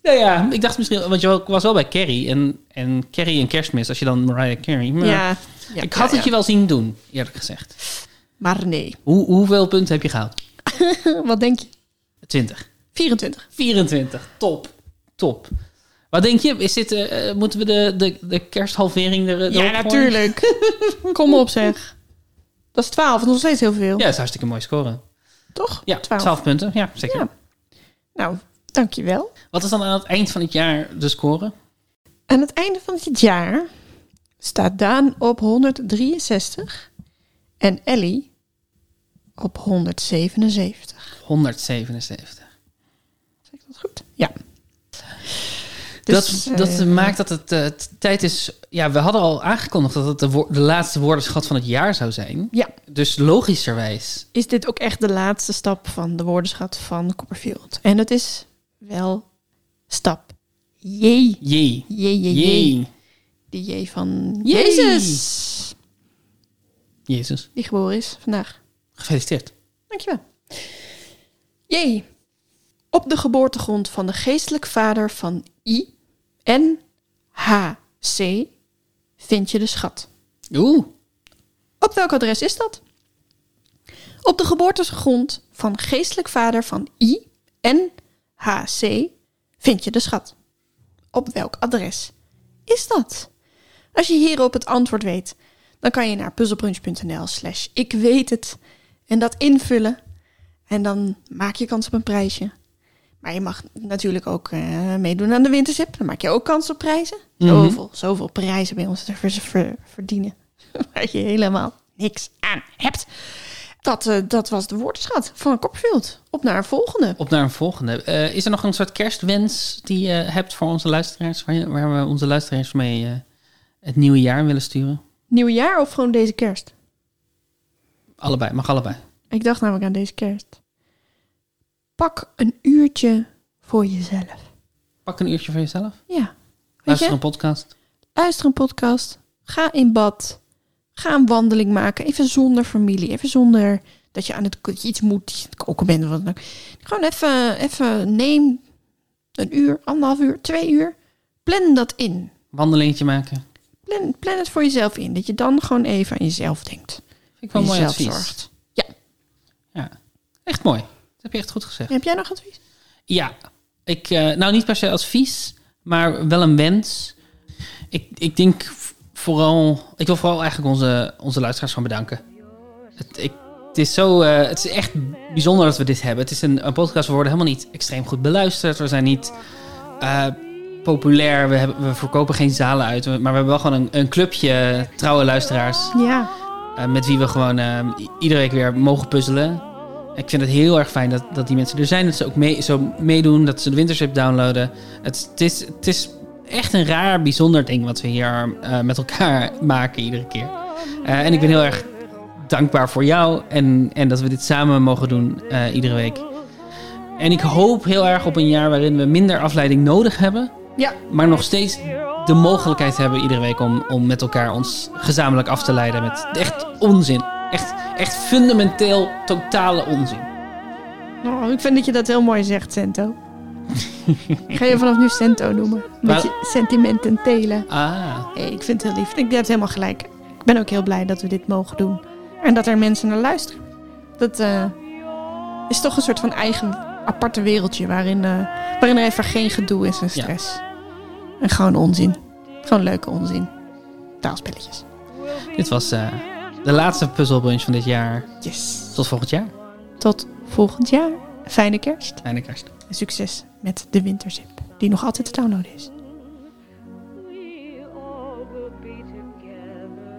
Nou ja, ik dacht misschien, want je was wel bij Carrie en, en Carrie en Kerstmis, als je dan Mariah Carey. Maar Ja. ja, ik had ja, het je ja. wel zien doen, eerlijk gezegd. Maar nee. [LAUGHS] Hoe, hoeveel punten heb je gehaald? Wat denk je? 20. 24. 24. Top. Top. Wat denk je? Is dit, eh, eh, moeten we de, de, de kersthalvering er erop Ja, gooien? [LAUGHS] natuurlijk. Kom op, zeg. Dat is 12, nog steeds heel veel. Ja, dat is hartstikke mooi scoren. Toch? Ja, 12. punten. Ja, zeker. Ja. Nou, dankjewel. Wat is dan aan het eind van het jaar de score? Aan het einde van dit jaar staat Daan op 163 en Ellie op 177. 177. Zeg ik dat goed? Ja. dat dat eh, maakt dat het eh, t- tijd is. Ja, we hadden al aangekondigd dat het de, wo- de laatste woordenschat van het jaar zou zijn. Ja, Dus logischerwijs. is dit ook echt de laatste stap van de woordenschat van Copperfield? En het is wel stap J. Jee. J, J, J. Jee. De J van Jee. Jezus. Jezus. Die geboren is vandaag. Gefeliciteerd. Dankjewel. J. Op de geboortegrond van de geestelijk vader van I en H.C. vind je de schat. Oeh. Op welk adres is dat? Op de geboortegrond van geestelijk vader van I en HC vind je de schat. Op welk adres is dat? Als je hierop het antwoord weet, dan kan je naar puzzelbrunch.nl slash ik weet het en dat invullen. En dan maak je kans op een prijsje. Maar je mag natuurlijk ook eh, meedoen aan de wintersip. Dan maak je ook kans op prijzen. Zoveel, zoveel prijzen [LAUGHS] bij ons te ver- ver- verdienen. Waar je helemaal niks aan hebt. dat, eh, dat was de woordenschat van Copperfield. Op naar een volgende. Op naar een volgende. Eh, is er nog een soort kerstwens die je hebt voor onze luisteraars, waar, je- waar we onze luisteraars mee eh, het nieuwe jaar willen sturen? Nieuwe jaar of gewoon deze kerst? Allebei, mag allebei. Ik dacht namelijk aan deze kerst. Pak een uurtje voor jezelf. Pak een uurtje voor jezelf. Ja. Weet Luister je, een podcast. luister een podcast. Ga in bad. Ga een wandeling maken. Even zonder familie. Even zonder dat je aan het dat je iets moet koken bent of wat dan ook. Gewoon even, even neem een uur, anderhalf uur, twee uur. Plan dat in. Wandelingetje maken. Plan, plan het voor jezelf in. Dat je dan gewoon even aan jezelf denkt. Vind ik wel een mooi Jezelf advies. zorgt. Ja. Ja, echt mooi. Dat heb je echt goed gezegd. Heb jij nog advies? Ja, ik, eh, nou niet per se advies, maar wel een wens. Ik, ik denk v- vooral, ik wil vooral eigenlijk onze, onze luisteraars van bedanken. Het, ik, het is zo, eh, het is echt bijzonder dat we dit hebben. Het is een, een podcast, we worden helemaal niet extreem goed beluisterd. We zijn niet eh, populair, we, hebben, we verkopen geen zalen uit. Maar we hebben wel gewoon een, een clubje trouwe luisteraars. Ja. Eh, met wie we gewoon eh, i- iedere week weer mogen puzzelen. Ik vind het heel erg fijn dat, dat die mensen er zijn. Dat ze ook mee, zo meedoen. Dat ze de Wintership downloaden. Het, is- het, is, het is echt een raar, bijzonder ding wat we hier eh, met elkaar [LAUGHS] maken iedere keer. Eh, en ik ben heel erg dankbaar voor jou. En, en dat we dit samen mogen doen eh, iedere week. En ik hoop heel erg op een jaar waarin we minder afleiding nodig hebben. Ja. Maar nog steeds de mogelijkheid hebben iedere week om, om met elkaar ons gezamenlijk af te leiden met echt onzin. Echt, echt fundamenteel totale onzin. Oh, ik vind dat je dat heel mooi zegt, Cento. ik ga je vanaf nu Cento noemen. Met je sentimenten telen. Ah, Hey, ik vind het heel lief. Ik je hebt helemaal gelijk. Ik ben ook heel blij dat we dit mogen doen. En dat er mensen naar luisteren. Dat eh, is toch een soort van eigen aparte wereldje waarin, eh, waarin er even geen gedoe is en stress. En gewoon onzin. Gewoon leuke onzin. Taalspelletjes. dit was eh, de laatste puzzelbrunch van dit jaar. Yes. Tot volgend jaar. Tot volgend jaar. Fijne kerst. Fijne kerst. En succes met de winterzip. Die nog altijd te downloaden is. we all will be together.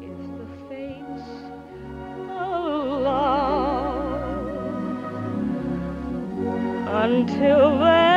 It's the fates of love. Until then.